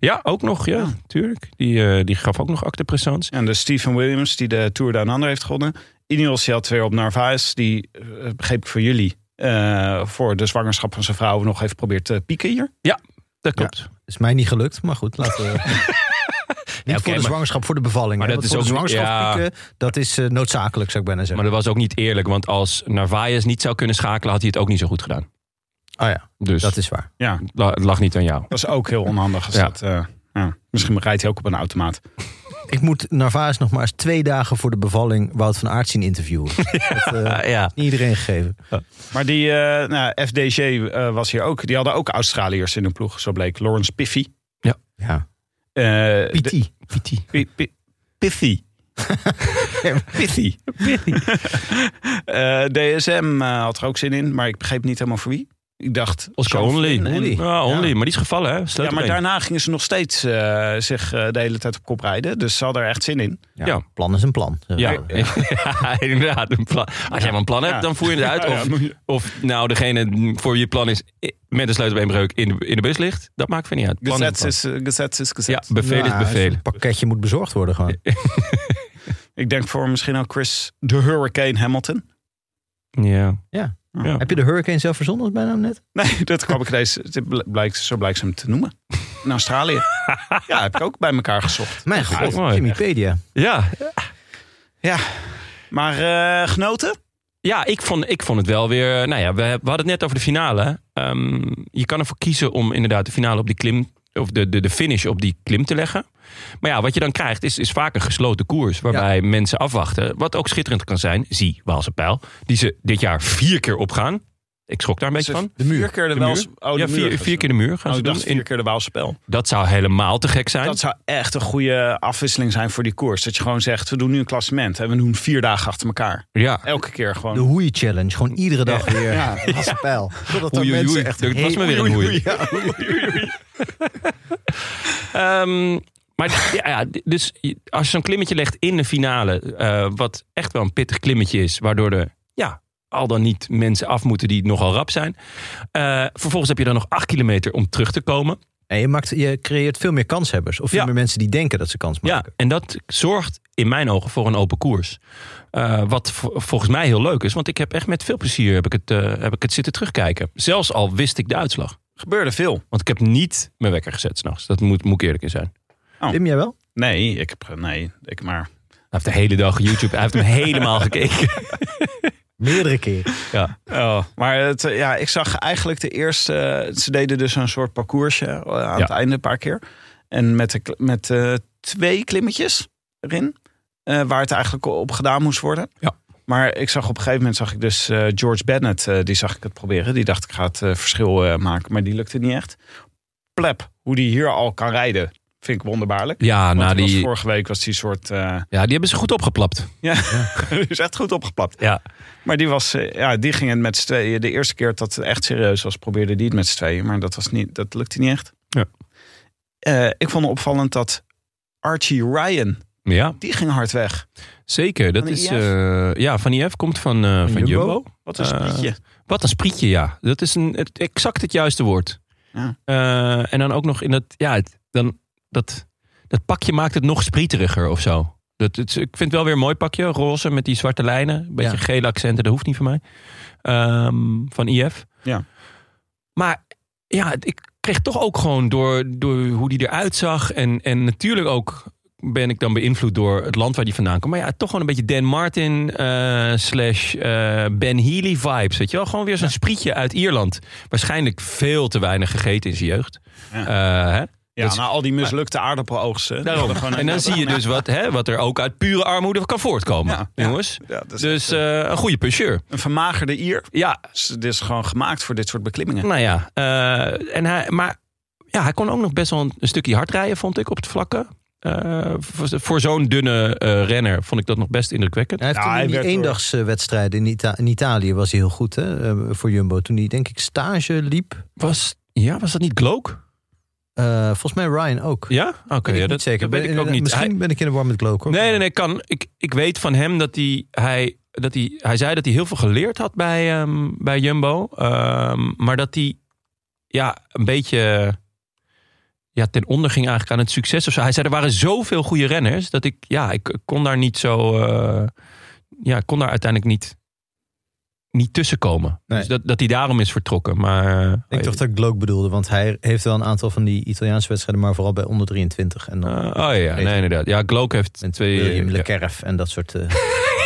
Ja, ook nog, ja, Ja. tuurlijk. Die, eh, die gaf ook nog acte présence. En dus Stephen Williams, die de Tour Down Under heeft gewonnen. Ineos die had weer op Narvaez, die eh, begreep ik van jullie... eh, voor de zwangerschap van zijn vrouw nog heeft geprobeerd te pieken hier. Dat klopt. Is mij niet gelukt, maar goed, laten [laughs] we... Niet oké, voor de maar- zwangerschap, voor de bevalling. Maar hè, dat want is voor ook niet- de zwangerschap ja. pieken, dat is eh, noodzakelijk, zou ik bijna Maar zeggen. dat was ook niet eerlijk, want als Narvaez niet zou kunnen schakelen, had hij het ook niet zo goed gedaan. Ah ja, Dus dat is waar. Ja, la- het lag niet aan jou. Dat is ook heel onhandig. Als Ja. dat, eh, ja. Misschien rijdt hij ook op een automaat. Ik moet Narvaez nog maar eens twee dagen voor de bevalling Wout van Aert zien interviewen. [laughs] Dat, eh, ja. niet iedereen gegeven. Maar die eh, nou, FDG eh, was hier ook. Die hadden ook Australiërs in hun ploeg, zo bleek. Lawrence Piffy. Ja. Eh, de- Piti. Pi- Pi- Piffy. Piffy. Eh, DSM eh, had er ook zin in, maar ik begreep niet helemaal voor wie. Ik dacht... Oscar Sean Only. Flynn en- Only. Ah, Only. Ja. Maar die is gevallen, hè? Ja, maar Sleutelbeen. daarna gingen ze nog steeds eh, zich eh, de hele tijd op kop rijden. Dus ze hadden er echt zin in. Ja, Ja. Plan is een plan. Ja, [laughs] ja, inderdaad. Een plan. Als jij maar een plan hebt, Ja. dan voer je het uit. [laughs] Ja, ja, Of, moet je- of nou, degene voor je plan is eh, met een sleutelbeenbreuk in de, in de bus ligt. Dat maakt van niet uit. Plan Gezet is is, eh, gezet is gezet. plan. Ja, bevel is bevel. Het pakketje moet bezorgd worden gewoon. Ik denk voor misschien ook Chris de Hurricane Hamilton. [laughs] Ja. Ja. Ja. Heb je de hurricane zelf verzonnen als bijnaam net? Nee, dat kwam ik ineens. dit bl- Blijkt, zo blijkt ze hem te noemen. [laughs] In Australië. Ja, heb ik ook bij elkaar gezocht. Mijn god, mooi. Jimmypedia. Ja. Ja. Maar eh, genoten? Ja, ik vond, ik vond het wel weer... Nou ja, we, heb- we hadden het net over de finale. hè. Ehm, je kan ervoor kiezen om inderdaad de finale op die klim... of de, de, de finish op die klim te leggen. Maar ja, wat je dan krijgt is, is vaak een gesloten koers... waarbij mensen afwachten. Wat ook schitterend kan zijn. Zie, Waalse Pijl. Die ze dit jaar vier keer opgaan. Ik schrok daar een beetje Ze- van. De muur. Vier keer de, De Waals- muur? oh, de ja, muur vier, was vier het. keer de muur gaan Oh, ze ik doen. dacht In- vier keer de Waalspel. Dat zou helemaal te gek zijn. Dat zou echt een goede afwisseling zijn voor die koers. Dat je gewoon zegt, we doen nu een klassement. En we doen vier dagen achter elkaar. Ja. Elke keer De gewoon. hoei challenge. Gewoon iedere dag weer. Ja. Ja. Dat is een pijl. Zodat daar Oei, oei, mensen oei. echt... Dat was maar weer een hoei. Ehm, maar ja, ja, dus je- als je zo'n klimmetje legt in de finale, eh, wat echt wel een pittig klimmetje is, waardoor er ja, al dan niet mensen af moeten die nogal rap zijn. Eh, vervolgens heb je dan nog acht kilometer om terug te komen. En je, maakt, je creëert veel meer kanshebbers. Of veel Ja. meer mensen die denken dat ze kans Ja, maken. en dat zorgt in mijn ogen voor een open koers. Eh, wat vo- volgens mij heel leuk is, want ik heb echt met veel plezier heb ik het, eh, heb ik het zitten terugkijken. Zelfs al wist ik de uitslag. Gebeurde veel. Want ik heb niet mijn wekker gezet s'nachts. Dat moet, moet ik eerlijk in zijn. Wim, jij wel? Nee, ik heb... eh, Nee, ik maar... Hij heeft de hele dag YouTube, hij heeft hem [laughs] helemaal gekeken. Meerdere keer. Ja. Oh, maar het, eh, ja, ik zag eigenlijk de eerste. eh, Ze deden dus een soort parcoursje eh, aan Ja. het einde een paar keer. En met, de, kl- met eh, twee klimmetjes erin. eh, waar het eigenlijk op gedaan moest worden. Ja. Maar ik zag op een gegeven moment zag ik dus eh, George Bennett, eh, die zag ik het proberen. Die dacht ik ga het eh, verschil eh, maken, maar die lukte niet echt. Plep, hoe die hier al kan rijden, vind ik wonderbaarlijk. Ja, Want na die was die, vorige week was die soort, eh, ja, die hebben ze goed opgeplapt. ja, [laughs] die is echt goed opgeplapt. Ja. Maar die, was, eh, ja, die ging het met z'n tweeën. De eerste keer dat het echt serieus was, probeerde die het met z'n tweeën. Maar dat, was niet, dat lukte niet echt. Ja. Eh, ik vond het opvallend dat Archie Ryan, Ja, die ging hard weg. zeker. Dat Van is, IF? eh, ja, van IF komt van, eh, van, Jumbo? Jumbo. Wat een Eh, sprietje. Wat een sprietje, ja. Dat is een, het, exact het juiste woord. Ja. Eh, en dan ook nog in dat, ja, het- dan, dat, dat pakje maakt het nog sprieteriger of zo. Dat, het, is- ik vind het wel weer een mooi pakje, roze met die zwarte lijnen. Een beetje Ja. gele accenten, dat hoeft niet van mij. Ehm, van IF. Ja. Maar ja, het- ik kreeg toch ook gewoon door, door hoe die eruit zag. En, en natuurlijk ook ben ik dan beïnvloed door het land waar die vandaan komt. Maar ja, toch gewoon een beetje Dan Martin eh, slash eh, Ben Healy vibes. Weet je wel? Gewoon weer zo'n sprietje uit Ierland. Waarschijnlijk veel te weinig gegeten in zijn jeugd. Eh, hè? Ja, Dat is- na al die mislukte aardappeloogsten. Daarom. Dat gewoon- En dan zie je dus wat, hè, wat er ook uit pure armoede kan voortkomen. Ja, ja. jongens. Ja, dat is Dus echt, eh, een goede puncheur. eh, een vermagerde ier. Ja, Dus Dit is gewoon gemaakt voor dit soort beklimmingen. nou ja. eh, en hij, maar ja, hij kon ook nog best wel een, een stukje hard rijden, vond ik, op het vlakke. Eh, voor voor zo'n dunne eh, renner vond ik dat nog best indrukwekkend. Hij heeft Ja, toen hij in die werd door- eendagswedstrijd in, Ita- in Italië was hij heel goed hè, eh, voor Jumbo. Toen hij denk ik stage liep. Was, ja, was dat niet Gloak? Eh, volgens mij Ryan ook. Ja? Oké, Weet ik ja, niet dat, zeker. dat weet ik Ben- ook niet. Misschien Hij- ben ik in de war met Gloak hoor. nee, nee, nee, kan. Ik, ik weet van hem dat hij, hij, dat hij... Hij zei dat hij heel veel geleerd had bij, ehm, bij Jumbo. ehm, maar dat hij ja, een beetje ja, ten onder ging eigenlijk aan het succes of zo. Hij zei, er waren zoveel goede renners dat ik... Ja, ik kon daar niet zo... eh, ja, ik kon daar uiteindelijk niet, niet tussenkomen. Nee. Dus dat, dat hij daarom is vertrokken. Maar Ik denk toch dat ik Gloak bedoelde, want hij heeft wel een aantal van die Italiaanse wedstrijden, maar vooral bij onder 23. En dan Eh, oh ja, nee, inderdaad. Ja, Gloak heeft met twee... eh, William Le ja. Kerf en dat soort eh,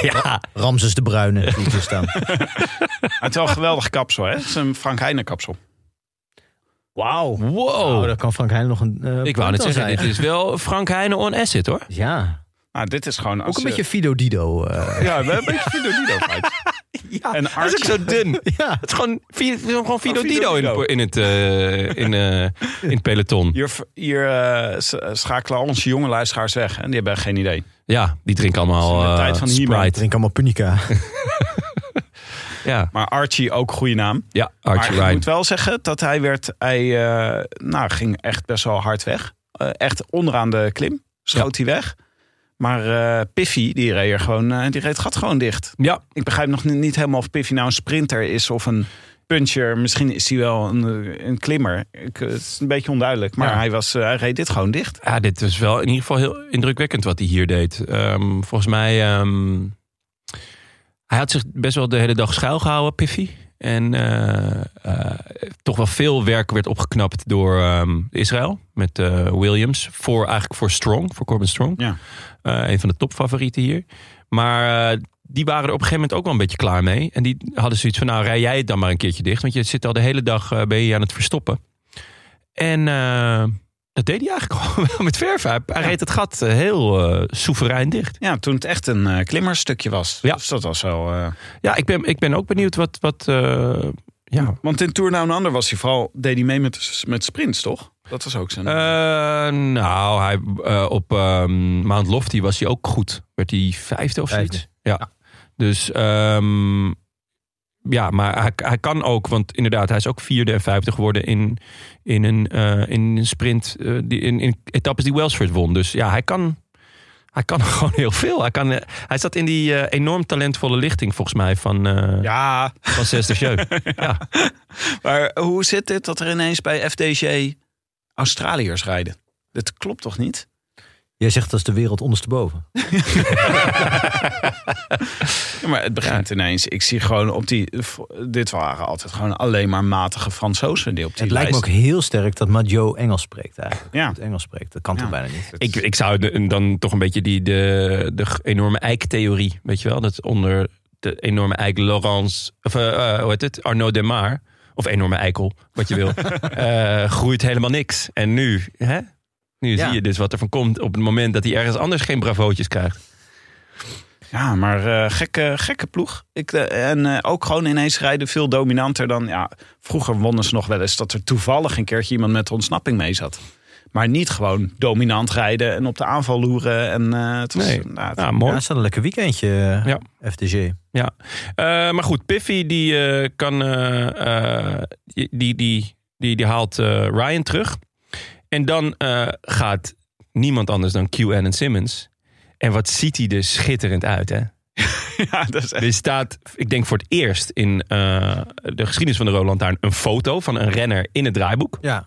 Ja, Ramses de Bruyne die er [laughs] staan. Maar Het is wel een geweldig kapsel, hè? Het is een Frank Heijnen kapsel. Wauw. wow. Oh, daar kan Frank Heijn nog een. eh, ik punt wou net aan zeggen, dit zijn. is wel Frank Heijnen on acid hoor. Ja, Nou, dit is gewoon... ook als, een eh, beetje Fido [laughs] Dido. eh. Ja, we hebben een beetje Fido Dido vibes. Ja, En hij is ook Archie. zo dun. Het ja, is gewoon, vi- het is gewoon Fido Fido Dido in, Dido. in, het, eh, in, eh, in het peloton. Hier, hier eh, s- eh, schakelen al onze jonge luisteraars weg. En die hebben geen idee. Ja, die drinken allemaal Het is in de eh, tijd van He-Man. Sprite. drink allemaal Punica. Ja, Maar Archie ook goede naam. ja Maar Archie ik Ryan. moet wel zeggen dat hij werd... Hij eh, nou, ging echt best wel hard weg. Eh, echt onderaan de klim. Schoot hij weg. Maar eh, Piffy, die reed, er gewoon, eh, die reed het gat gewoon dicht. Ja, Ik begrijp nog ni- niet helemaal of Piffy nou een sprinter is of een puncher. Misschien is hij wel een, eh, een klimmer. Ik, eh, het is een beetje onduidelijk. Maar Ja. hij, was, eh, hij reed dit gewoon dicht. ja, dit was wel in ieder geval heel indrukwekkend wat hij hier deed. Ehm, volgens mij, ehm, hij had zich best wel de hele dag schuilgehouden, Piffy. En eh, eh, toch wel veel werk werd opgeknapt door ehm, Israël met eh, Williams. Voor, eigenlijk voor Strong, voor Corbin Strong. Ja. Eh, een van de topfavorieten hier. Maar eh, die waren er op een gegeven moment ook wel een beetje klaar mee. En die hadden zoiets van, nou rij jij het dan maar een keertje dicht. Want je zit al de hele dag eh, ben je aan het verstoppen. En eh, dat deed hij eigenlijk [laughs] gewoon wel met verf. Hij, hij reed het gat eh, heel eh, soeverein dicht. Ja, toen het echt een eh, klimmerstukje was. Ja. Dus dat was wel... eh, Ja, ik ben, ik ben ook benieuwd wat... wat eh, ja, Want in Tour Down Under was hij vooral... Deed hij mee met, met sprints, toch? Dat was ook zijn... Eh, nou, hij, eh, op ehm, Mount Lofty was hij ook goed. Werd hij vijfde of Vijfde. zoiets? Ja. Dus ehm, ja, maar hij, hij kan ook, want inderdaad, hij is ook vierde en vijfde geworden in, in, een, eh, in een sprint, eh, die, in, in etappes die Welsford won. Dus ja, hij kan, hij kan [laughs] gewoon heel veel. Hij, kan, eh, hij zat in die eh, enorm talentvolle lichting, volgens mij, van, eh ja, van Sesterjeu. ja. maar hoe zit dit dat er ineens bij FDG Australiërs rijden? Dat klopt toch niet? [laughs] Jij zegt dat is de wereld ondersteboven. Ja, maar het begint ineens. Ik zie gewoon op die... Dit waren altijd gewoon alleen maar matige Fransozen die op die Het lijkt me ook lijst. heel sterk dat Mathieu Engels spreekt eigenlijk. Ja. Goed Engels spreekt, dat kan Ja. toch bijna niet. Ik, ik zou de- dan toch een beetje die, de, de g- enorme eiktheorie, weet je wel? Dat onder de enorme eik Laurence, of eh, eh, hoe heet het? Arnaud Demar, of enorme eikel, wat je [laughs] wil, eh, groeit helemaal niks. En nu, hè? Nu Ja. zie je dus wat er van komt op het moment dat hij ergens anders geen bravootjes krijgt. Ja, maar eh, gekke, gekke ploeg. Ik, eh, en eh, ook gewoon ineens rijden veel dominanter dan... Ja, vroeger wonnen ze nog wel eens dat er toevallig een keertje iemand met ontsnapping mee zat. Maar niet gewoon dominant rijden en op de aanval loeren. En, eh, het was, Nee. nou, het- Ja, Ja, mooi. het is wel een lekker weekendje, eh, Ja. ja. FTG. Ja, Eh, maar goed, Piffy die eh, kan, eh, eh, die, die, die, die haalt eh, Ryan terug. En dan eh, gaat niemand anders dan Q en Simmons. En wat ziet hij er schitterend uit, hè? [laughs] ja, dat is echt- Er staat, ik denk voor het eerst in eh, de geschiedenis van de Roland Lantaarn... een foto van een renner in het draaiboek. Ja,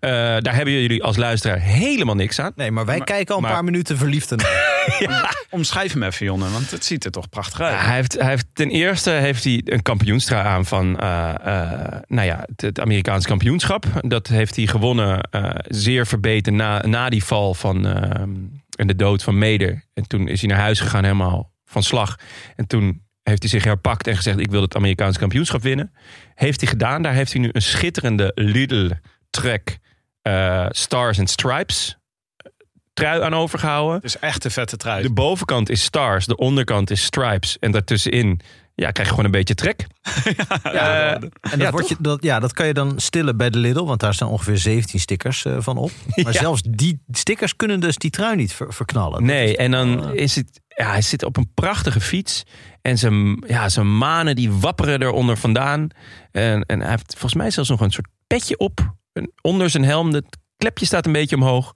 Eh, daar hebben jullie als luisteraar helemaal niks aan. nee, maar wij kijken al een maar- paar minuten verliefd. naar. Omschrijf hem even, Jonne, want het ziet er toch prachtig uit. Ja, hij heeft, hij heeft, ten eerste heeft hij een kampioenstra aan van eh, eh, nou ja, het, het Amerikaans kampioenschap. Dat heeft hij gewonnen, eh, zeer verbeten na, na die val van, eh, en de dood van Meder. En toen is hij naar huis gegaan helemaal van slag. En toen heeft hij zich herpakt en gezegd, ik wil het Amerikaans kampioenschap winnen. Heeft hij gedaan. Daar heeft hij nu een schitterende Lidl Trek eh, Stars and Stripes eh, trui aan overgehouden. Het is echt een vette trui. De bovenkant is stars, de onderkant is stripes. En daartussenin ja, krijg je gewoon een beetje trek. ja, eh, ja, En dat, Ja, wordt je, dat, ja, dat kan je dan stillen bij de Lidl, want daar staan ongeveer 17 stickers eh, van [laughs] op. Maar zelfs die stickers kunnen dus die trui niet ver- verknallen. nee, en dan is het... Ja, hij zit op een prachtige fiets. En zijn, ja, zijn manen die wapperen eronder vandaan. En, en hij heeft volgens mij zelfs nog een soort petje op. Een- Onder zijn helm. Het klepje staat een beetje omhoog.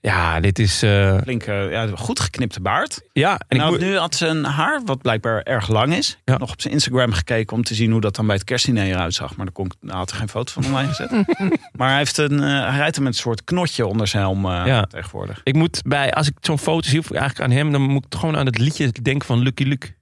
Ja, dit is... eh, Flinke, ja, goed geknipte baard. ja, en En nou, ik moet- nu had ze een haar, wat blijkbaar erg lang is. Ik Ja. heb nog op zijn Instagram gekeken om te zien hoe dat dan bij het kerstdiner eruit zag. Maar daar kon ik, daar had er geen foto van online [laughs] gezet. maar hij, heeft een, eh, hij rijdt er met een soort knotje onder zijn helm eh, Ja. tegenwoordig. ik moet bij... Als ik zo'n foto zie, of eigenlijk aan hem... Dan moet ik gewoon aan het liedje denken van Lucky Luke.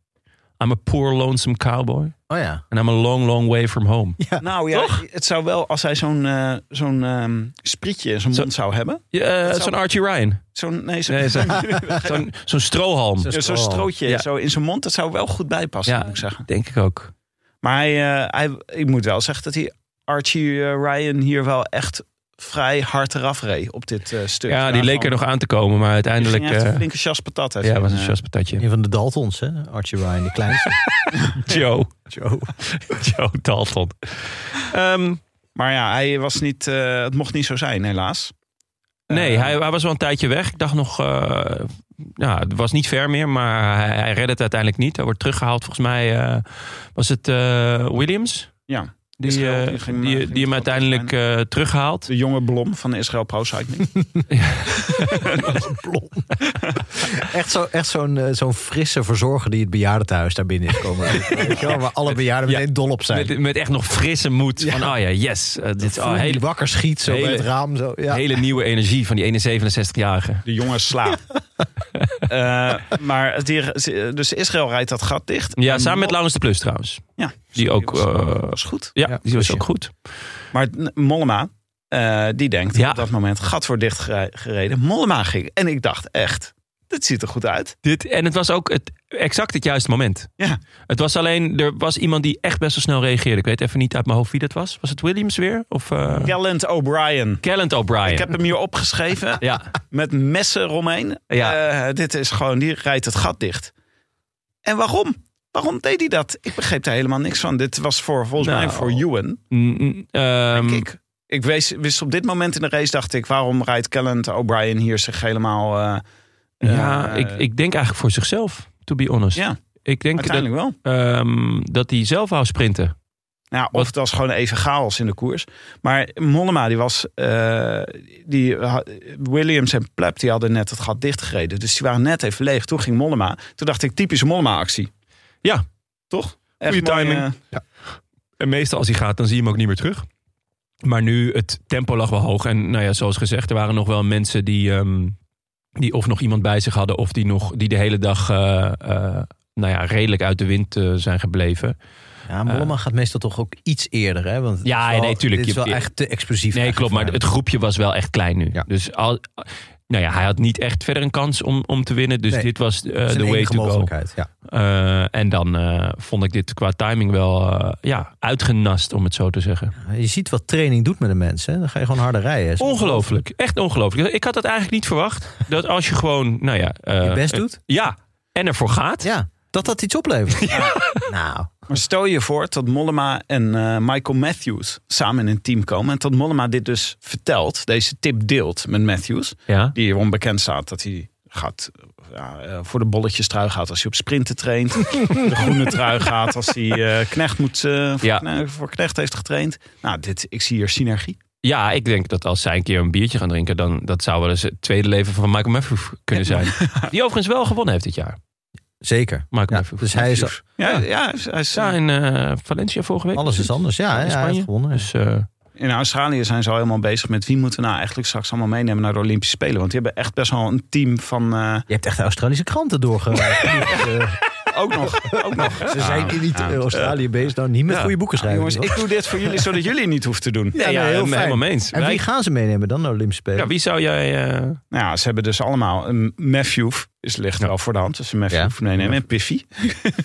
I'm a poor lonesome cowboy. Oh ja. En I'm a long, long way from home. Nou ja, het zou wel, als hij zo'n eh, zo'n ehm, sprietje in zijn Zo- mond zou hebben. Ja, eh, zou- zo'n Archie [laughs] Ryan. Zo'n nee, zo, Oh, Nee, [laughs] zo- Ja, Zo'n zo'n strohalm. Zo'n- zo'n strootje Ja. zo in zijn mond, dat zou wel goed bijpassen, Ja. moet ik zeggen. Denk ik ook. Maar hij, eh, hij, ik moet wel zeggen dat hij Archie eh, Ryan hier wel echt vrij hard eraf reed op dit eh, stuk. Ja, die leek er nog aan te komen, maar Die uiteindelijk... ging echt een eh, flinke chas patat. heeft ja, hij, was een eh, chaspatatje. Een van de Daltons, hè? Archie Ryan, de kleinste. [laughs] Joe. Joe. Joe Dalton. Ehm, Maar ja, hij was niet, eh, het mocht niet zo zijn, helaas. nee, Eh, hij, hij was wel een tijdje weg. Ik dacht nog... eh, ja, het was niet ver meer, maar hij, hij redde het uiteindelijk niet. Hij wordt teruggehaald, volgens mij... eh, was het eh, Williams? Ja. Die, Israël, eh, die ging- die, ging die hem het wel uiteindelijk eh, terughaalt. De jonge Blom van Israël Pro Cycling. Echt zo'n echt zo'n eh, zo'n frisse verzorger die het bejaardentehuis daar binnen is [laughs] komen. Weet je wel, waar alle bejaarden Ja. meteen dol op zijn. Met, met echt nog frisse moed. Van, oh ja, yes. eh, dit is oh, Voel die hele, wakker schiet zo hele- bij het raam. Zo. Ja. hele nieuwe energie van die ene 67-jarige. De jonge [laughs] slaap. Eh, maar het dier, dus Israël rijdt dat gat dicht. Ja, En samen met Mo- Laurens de Plus trouwens. Ja, Die ook... was, eh, was goed. Ja, Ja, die was plusje. ook goed. Maar n- Mollema, eh, die denkt Ja. op dat moment, gat wordt dicht gere- gereden. Mollema ging. En ik dacht echt, dit ziet er goed uit. Dit, en het was ook het, exact het juiste moment. Ja. Het was alleen, er was iemand die echt best wel snel reageerde. Ik weet even niet uit mijn hoofd wie dat was. Was het Williams weer? Of eh Gallant O'Brien. Callant O'Brien? Ik heb hem hier opgeschreven. Ja, met messen eromheen. Ja. Eh, dit is gewoon, die rijdt het gat dicht. En waarom? Waarom deed hij dat? Ik begreep daar helemaal niks van. Dit was voor, volgens Nou, mij voor Ewan. Mm, mm, ehm, ik ik wees, wist op dit moment in de race, dacht ik... waarom rijdt Callant O'Brien hier zich helemaal... eh, ja eh, ik, ik denk eigenlijk voor zichzelf, to be honest. Ja, Ik denk dat, uiteindelijk wel. ehm, dat hij zelf wou sprinten. Nou, Wat- of het was gewoon even chaos in de koers. Maar Mollema, die was... eh, die, had- Williams en Plep, die hadden net het gat dichtgereden. Dus die waren net even leeg. Toen ging Mollema. Toen dacht ik, typische Mollema-actie. Ja. Toch? Echt Goeie mooi, timing. eh, En meestal als hij gaat, dan zie je hem ook niet meer terug. Maar nu, het tempo lag wel hoog. En nou ja, zoals gezegd, er waren nog wel mensen die, ehm, die of nog iemand bij zich hadden... of die, nog, die de hele dag eh, eh, nou ja, redelijk uit de wind eh, zijn gebleven. Ja, Mollema gaat meestal toch ook iets eerder, hè? Want het Ah. Ja, is wel- nee, tuurlijk. Dit is Je- wel echt te explosief. Nee, eigenlijk klopt, maar voor het groepje was wel echt klein nu. Ja. Dus al, nou ja, hij had niet echt verder een kans om, om te winnen. Dus Nee. dit was eh, hem. de Zijn way enige to go. mogelijkheid. Ja. Eh, en dan eh, vond ik dit qua timing wel eh, ja, uitgenast, om het zo te zeggen. Je ziet wat training doet met de mensen. hè. Dan ga je gewoon harder rijden. Oh, Ongelooflijk. Echt ongelooflijk. Ik had dat eigenlijk niet verwacht. Dat als je gewoon, nou ja... eh, Je best eh, doet? Ja. en ervoor gaat. Ja, dat dat iets oplevert. Nou, Maar stel je voor dat Mollema en eh, Michael Matthews samen in een team komen. En dat Mollema dit dus vertelt, deze tip deelt met Matthews. Ja. Die hier onbekend staat dat hij gaat, ja, eh, voor de bolletjes trui gaat als hij op sprinten [laughs] traint. de groene trui gaat als hij eh, knecht moet, eh, voor, Ja. kne- voor knecht heeft getraind. Nou, dit, ik zie hier synergie. Ja, ik denk dat als zij een keer een biertje gaan drinken, dan dat zou wel eens het tweede leven van Michael Matthews kunnen zijn. [laughs] Die overigens wel gewonnen heeft dit jaar. zeker. Michael Ja, Matthews. dus hij is, Ja, ja. hij is- hij is- Ja, in eh, Valencia vorige week. alles is anders. Ja, In ja, hij Spanje. heeft gewonnen. Dus, eh, in Australië zijn ze al helemaal bezig met wie moeten we nou eigenlijk straks allemaal meenemen naar de Olympische Spelen. Want die hebben echt best wel een team van... eh, Je hebt echt de Australische kranten doorge. Eh, ook nog, [laughs] ook nog. Ze zijn in It- Ja. Australië bezig. Nou, niet met goede boeken schrijven. ah. Jongens, hoor. ik doe dit voor jullie zodat jullie het niet hoeven te doen. ja, Ja, nee, heel helemaal- fijn. helemaal eens. En Wij- wie gaan ze meenemen dan naar de Olympische Spelen? ja, wie zou jij... [laughs] eh, Nou ja, ze hebben dus allemaal. Een Matthew is ligt wel voor de hand. Dus een Matthew Ja. meenemen. En Piffy.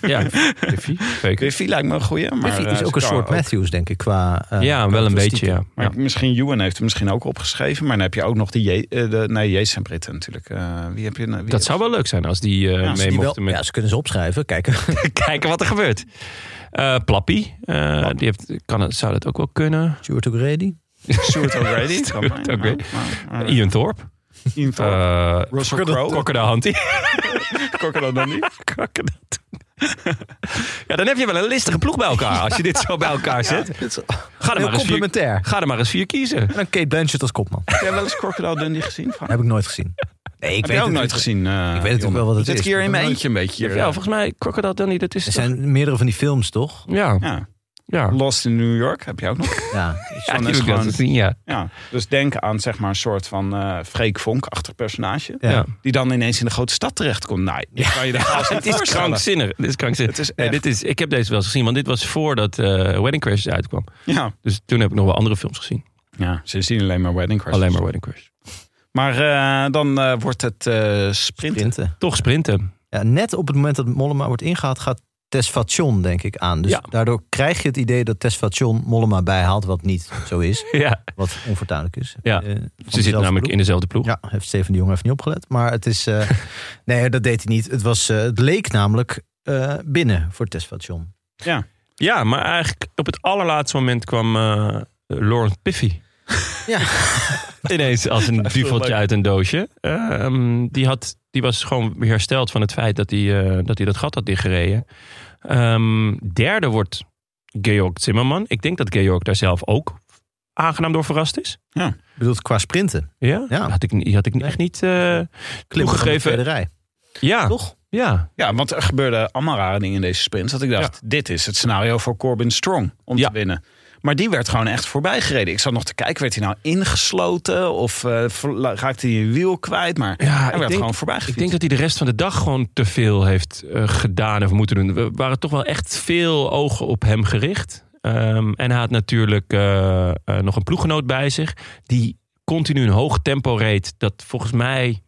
ja, Griffie, zeker. Piffy lijkt me een goeie. Maar Griffey eh, is ook een ze kan soort Matthews, denk ik, qua... eh, ja, wel een beetje, ja. Maar Ja. misschien Ewan heeft hem misschien ook opgeschreven. Maar dan heb je ook nog de... Je, eh, de nee, Jezus en Britten natuurlijk. Eh, wie heb je... nou- Wie Dat zou wel leuk zijn als die eh, als mee Die wel, mochten met Ja, ze kunnen ze opschrijven. [laughs] Kijk, kijken wat er gebeurt. Eh, Plappie, eh, die heeft, kan het, zou dat ook wel [laughs] kunnen. Stuart O'Grady. Stuart O'Grady. kan Stuart mij, O'Grady. maar, maar, eh, Ian Thorpe. Ian Thorpe. eh Russell Crowe. Crocodile Hunty. Crocodile Dundee. [laughs] Crocodile. Ja, dan heb je wel een listige ploeg bij elkaar. Als je dit zo bij elkaar zet. Ga er Heel maar eens vier, complementair. ga er maar eens vier kiezen. En dan Kate Blanchett als kopman. Heb jij wel eens Crocodile Dundee gezien? Frank? Heb ik nooit gezien. Nee, ik heb jij ook nooit gezien? eh, Ik weet natuurlijk wel wat het Zit is. ik hier Ik in heb mijn nooit- eentje een beetje. Ja, hier, eh, volgens mij Crocodile Dundee, dat is Er toch- zijn meerdere van die films, toch? Ja, ja. ja. Lost in New York heb je ook nog. Ja. Ja, is die heb ik wel gewoon- eens gezien, ja. Ja, dus denk aan zeg maar een soort van eh Freek Vonk-achtig personage. Ja. Ja. Die dan ineens in de grote stad terechtkomt. Nee, die kan je daar haast niet Het is voorstellen. krankzinnig. Dit is krankzinnig. Het is Nee, echt- dit is, ik heb deze wel eens gezien, want dit was voordat eh Wedding Crash uitkwam. Ja. Dus toen heb ik nog wel andere films gezien. ja, sindsdien alleen maar Wedding Crashers. Alleen maar Wedding Crash. Maar eh, dan eh, wordt het eh sprinten. Sprinten. Toch sprinten. [laughs] Ja, net op het moment dat Mollema wordt ingehaald, gaat Tesfation, denk ik, aan. Dus Ja. daardoor krijg je het idee dat Tesfation Mollema bijhaalt, wat niet zo [laughs] is. Ja, Wat onvertuidelijk is. Ja. Eh, van ze dezelfde zitten namelijk ploeg. in dezelfde ploeg. Ja, heeft Steven de Jong even niet opgelet. Maar het [laughs] is. eh, nee, dat deed hij niet. Het, was, eh, het leek namelijk eh, binnen voor Tesfation. Ja, maar eigenlijk op het allerlaatste moment kwam eh Laurent Piffy. [laughs] Ja. [laughs] Ineens als [laughs] een duveltje leuk. uit een doosje. Ehm, die, had, die was gewoon weer hersteld van het feit dat hij eh, dat, hij dat gat had dichtgereden. Ehm, derde wordt Georg Zimmerman. Ik denk dat Georg daar zelf ook aangenaam door verrast is. Bedoeld qua sprinten. Ja, Ja. Had ik, die had ik echt niet eh Klimmen van de toegegeven. tweede rij. Ja, Toch? ja, Ja, want er gebeurde allemaal rare dingen in deze sprint. Dat ik dacht, dit is het scenario voor Corbin Strong om Ja. te winnen. Maar die werd gewoon echt voorbij gereden. Ik zat nog te kijken, werd hij nou ingesloten? Of eh, verla- raakte hij een wiel kwijt? Maar Ja, hij ik werd denk- gewoon voorbij Ik gefietst. denk dat hij de rest van de dag gewoon te veel heeft eh, gedaan of moeten doen. We waren toch wel echt veel ogen op hem gericht. Ehm, en hij had natuurlijk eh, eh, nog een ploeggenoot bij zich. Die continu een hoog tempo reed. Dat volgens mij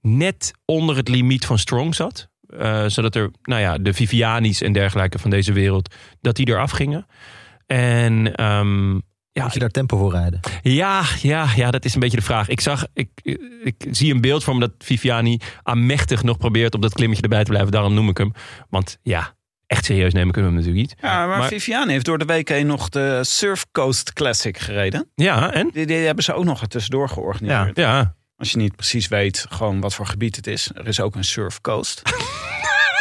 net onder het limiet van Strong zat. Eh, zodat er, nou ja, de Vivianis en dergelijke van deze wereld, dat die eraf gingen. En ehm, ja, Moet je daar tempo voor rijden? ja, ja, ja, dat is een beetje de vraag. Ik zag, ik, ik zie een beeld van me dat Viviani aanmächtig nog probeert op dat klimmetje erbij te blijven. Daarom noem ik hem. Want ja, echt serieus nemen kunnen we hem natuurlijk niet. Ja, maar, Maar- Viviane heeft door de week heen nog de Surf Coast Classic gereden. Ja, en? Die, die hebben ze ook nog ertussendoor georganiseerd. Ja, Als je niet precies weet gewoon wat voor gebied het is. Er is ook een Surf Coast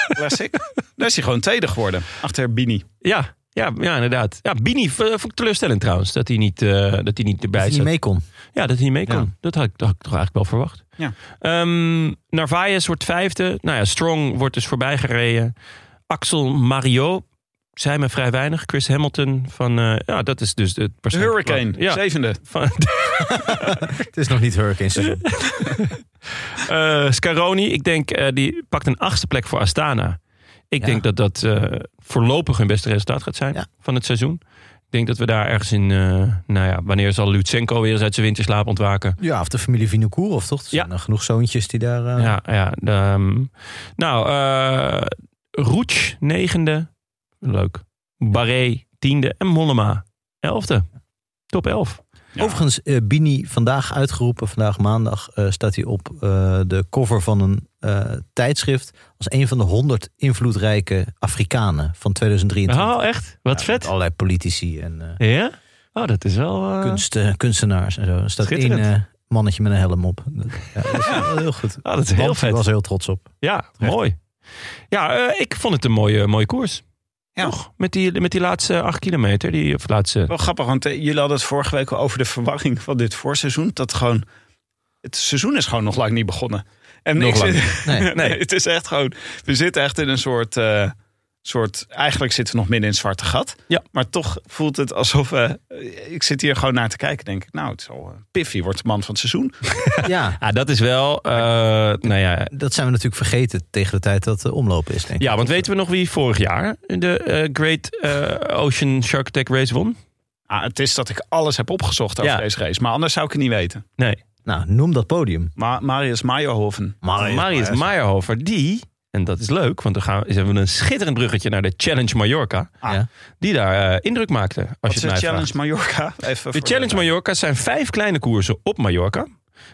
Classic. Daar is hij gewoon tweede geworden. Achter Bini. ja, ja, ja inderdaad. Ja, Bini eh, vond ik teleurstellend trouwens. Dat hij niet, eh, dat hij niet Dat erbij je niet zat. mee kon. [laughs] Ja, dat hij niet mee kon. Ja. Dat, had ik, dat had ik toch eigenlijk wel verwacht. Ja. Ehm, Narvaez wordt vijfde. Nou ja, Strong wordt dus voorbij gereden. Axel Mario zei me vrij weinig. Chris Hamilton van... eh, ja, dat is dus het De persoon- Hurricane, Ja, zevende. van, [laughs] Het is nog niet hurricane seizoen. eh Scaroni, ik denk, eh, die pakt een achtste plek voor Astana. Ik Ja. denk dat dat eh, voorlopig hun beste resultaat gaat zijn Ja. van het seizoen. Ik denk dat we daar ergens in, eh, nou ja, wanneer zal Lutsenko weer eens uit zijn winterslaap ontwaken? Ja, of de familie Vinokourov, toch? Er zijn Ja. nog genoeg zoontjes die daar... eh, Ja, ja. de, ehm, nou, eh Roets, negende. Leuk. Barré, tiende. En Mollema, elfde. Top elf. Overigens, eh, Bini vandaag uitgeroepen, vandaag maandag, eh, staat hij op eh, de cover van een eh, tijdschrift als een van de 100 invloedrijke Afrikanen van 2023. Oh, echt? Wat Ja, met vet. Allerlei politici en eh, Ja? Oh, dat is wel... eh, kunsten- kunstenaars en zo. Er staat één Schitterend. eh, mannetje met een helm op. Dat- Ja, dat is wel heel goed. Oh, dat is heel Want vet. Ik was er heel trots op. Ja, Terecht. mooi. Ja, eh, ik vond het een mooie, mooie koers. Ja. Toch? Met die, met die laatste acht kilometer. Die, of laatste, Wel grappig, want eh, jullie hadden het vorige week al over de verwarring van dit voorseizoen. Dat gewoon, het seizoen is gewoon nog lang niet begonnen. En Nog ik lang zit- niet. [laughs] Nee. Nee. het is echt gewoon, we zitten echt in een soort, eh, soort, eigenlijk zitten we nog midden in het zwarte gat. Ja. Maar toch voelt het alsof, eh, ik zit hier gewoon naar te kijken. Denk ik, nou, het is al, eh, Piffy wordt de man van het seizoen. Ja, Ah, dat is wel... eh, nou ja, dat zijn we natuurlijk vergeten tegen de tijd dat de omloop is, denk ik. ja, want weten we nog wie vorig jaar de eh, Great eh, Ocean Shark Attack Race won? Ah, het is dat ik alles heb opgezocht over Ja. deze race, maar anders zou ik het niet weten. Nee, Nou, noem dat podium. Maar Marius Meyerhoven. Marius, Marius Meijerhofer. Die, en dat is leuk, want dan gaan we, ze hebben een schitterend bruggetje naar de Challenge Mallorca. Ah, Ja. Die daar eh, indruk maakte, als Wat je is het de mij Challenge vraagt. Mallorca? [laughs] Even De voor Challenge Mallorca zijn vijf kleine koersen op Mallorca.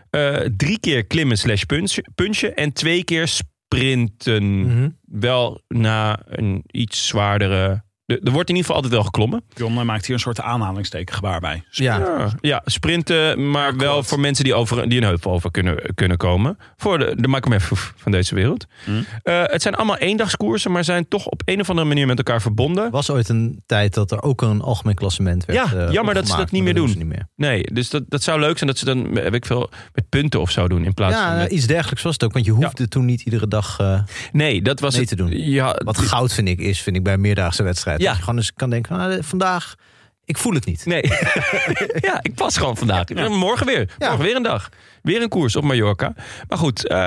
Eh, drie keer klimmen slash punchen, punchen en twee keer sprinten. Mhm. Wel na een iets zwaardere... Er er wordt in ieder geval altijd wel geklommen. Jonne maakt hier een soort aanhalingsteken gebaar bij. Ja, Ja, Ah, ja, sprinten, maar wel voor mensen die, over, die een heuvel over kunnen, kunnen komen. Voor de, de Malcolm F. van deze wereld. Hmm. Eh, het zijn allemaal eendagskoersen, maar zijn toch op een of andere manier met elkaar verbonden. was ooit een tijd dat er ook een algemeen klassement werd. Ja, eh, jammer dat ze opgemaakt, dat niet maar meer Niet meer. Nee, dus dat, dat zou leuk zijn dat ze dan, weet ik veel, met punten of zo doen. In plaats van Ja, eh, met- iets dergelijks was het ook, want je hoefde toen niet iedere dag. eh, Nee, dat was mee het. te doen. Ja, wat goud vind ik is, vind ik bij een meerdaagse wedstrijd. Ja. Dat je gewoon eens kan denken, nou, eh, vandaag, ik voel het niet. Nee. [laughs] ja, ik pas gewoon vandaag. Morgen weer. Ja. Morgen weer een dag. Weer een koers op Mallorca. Maar goed, eh,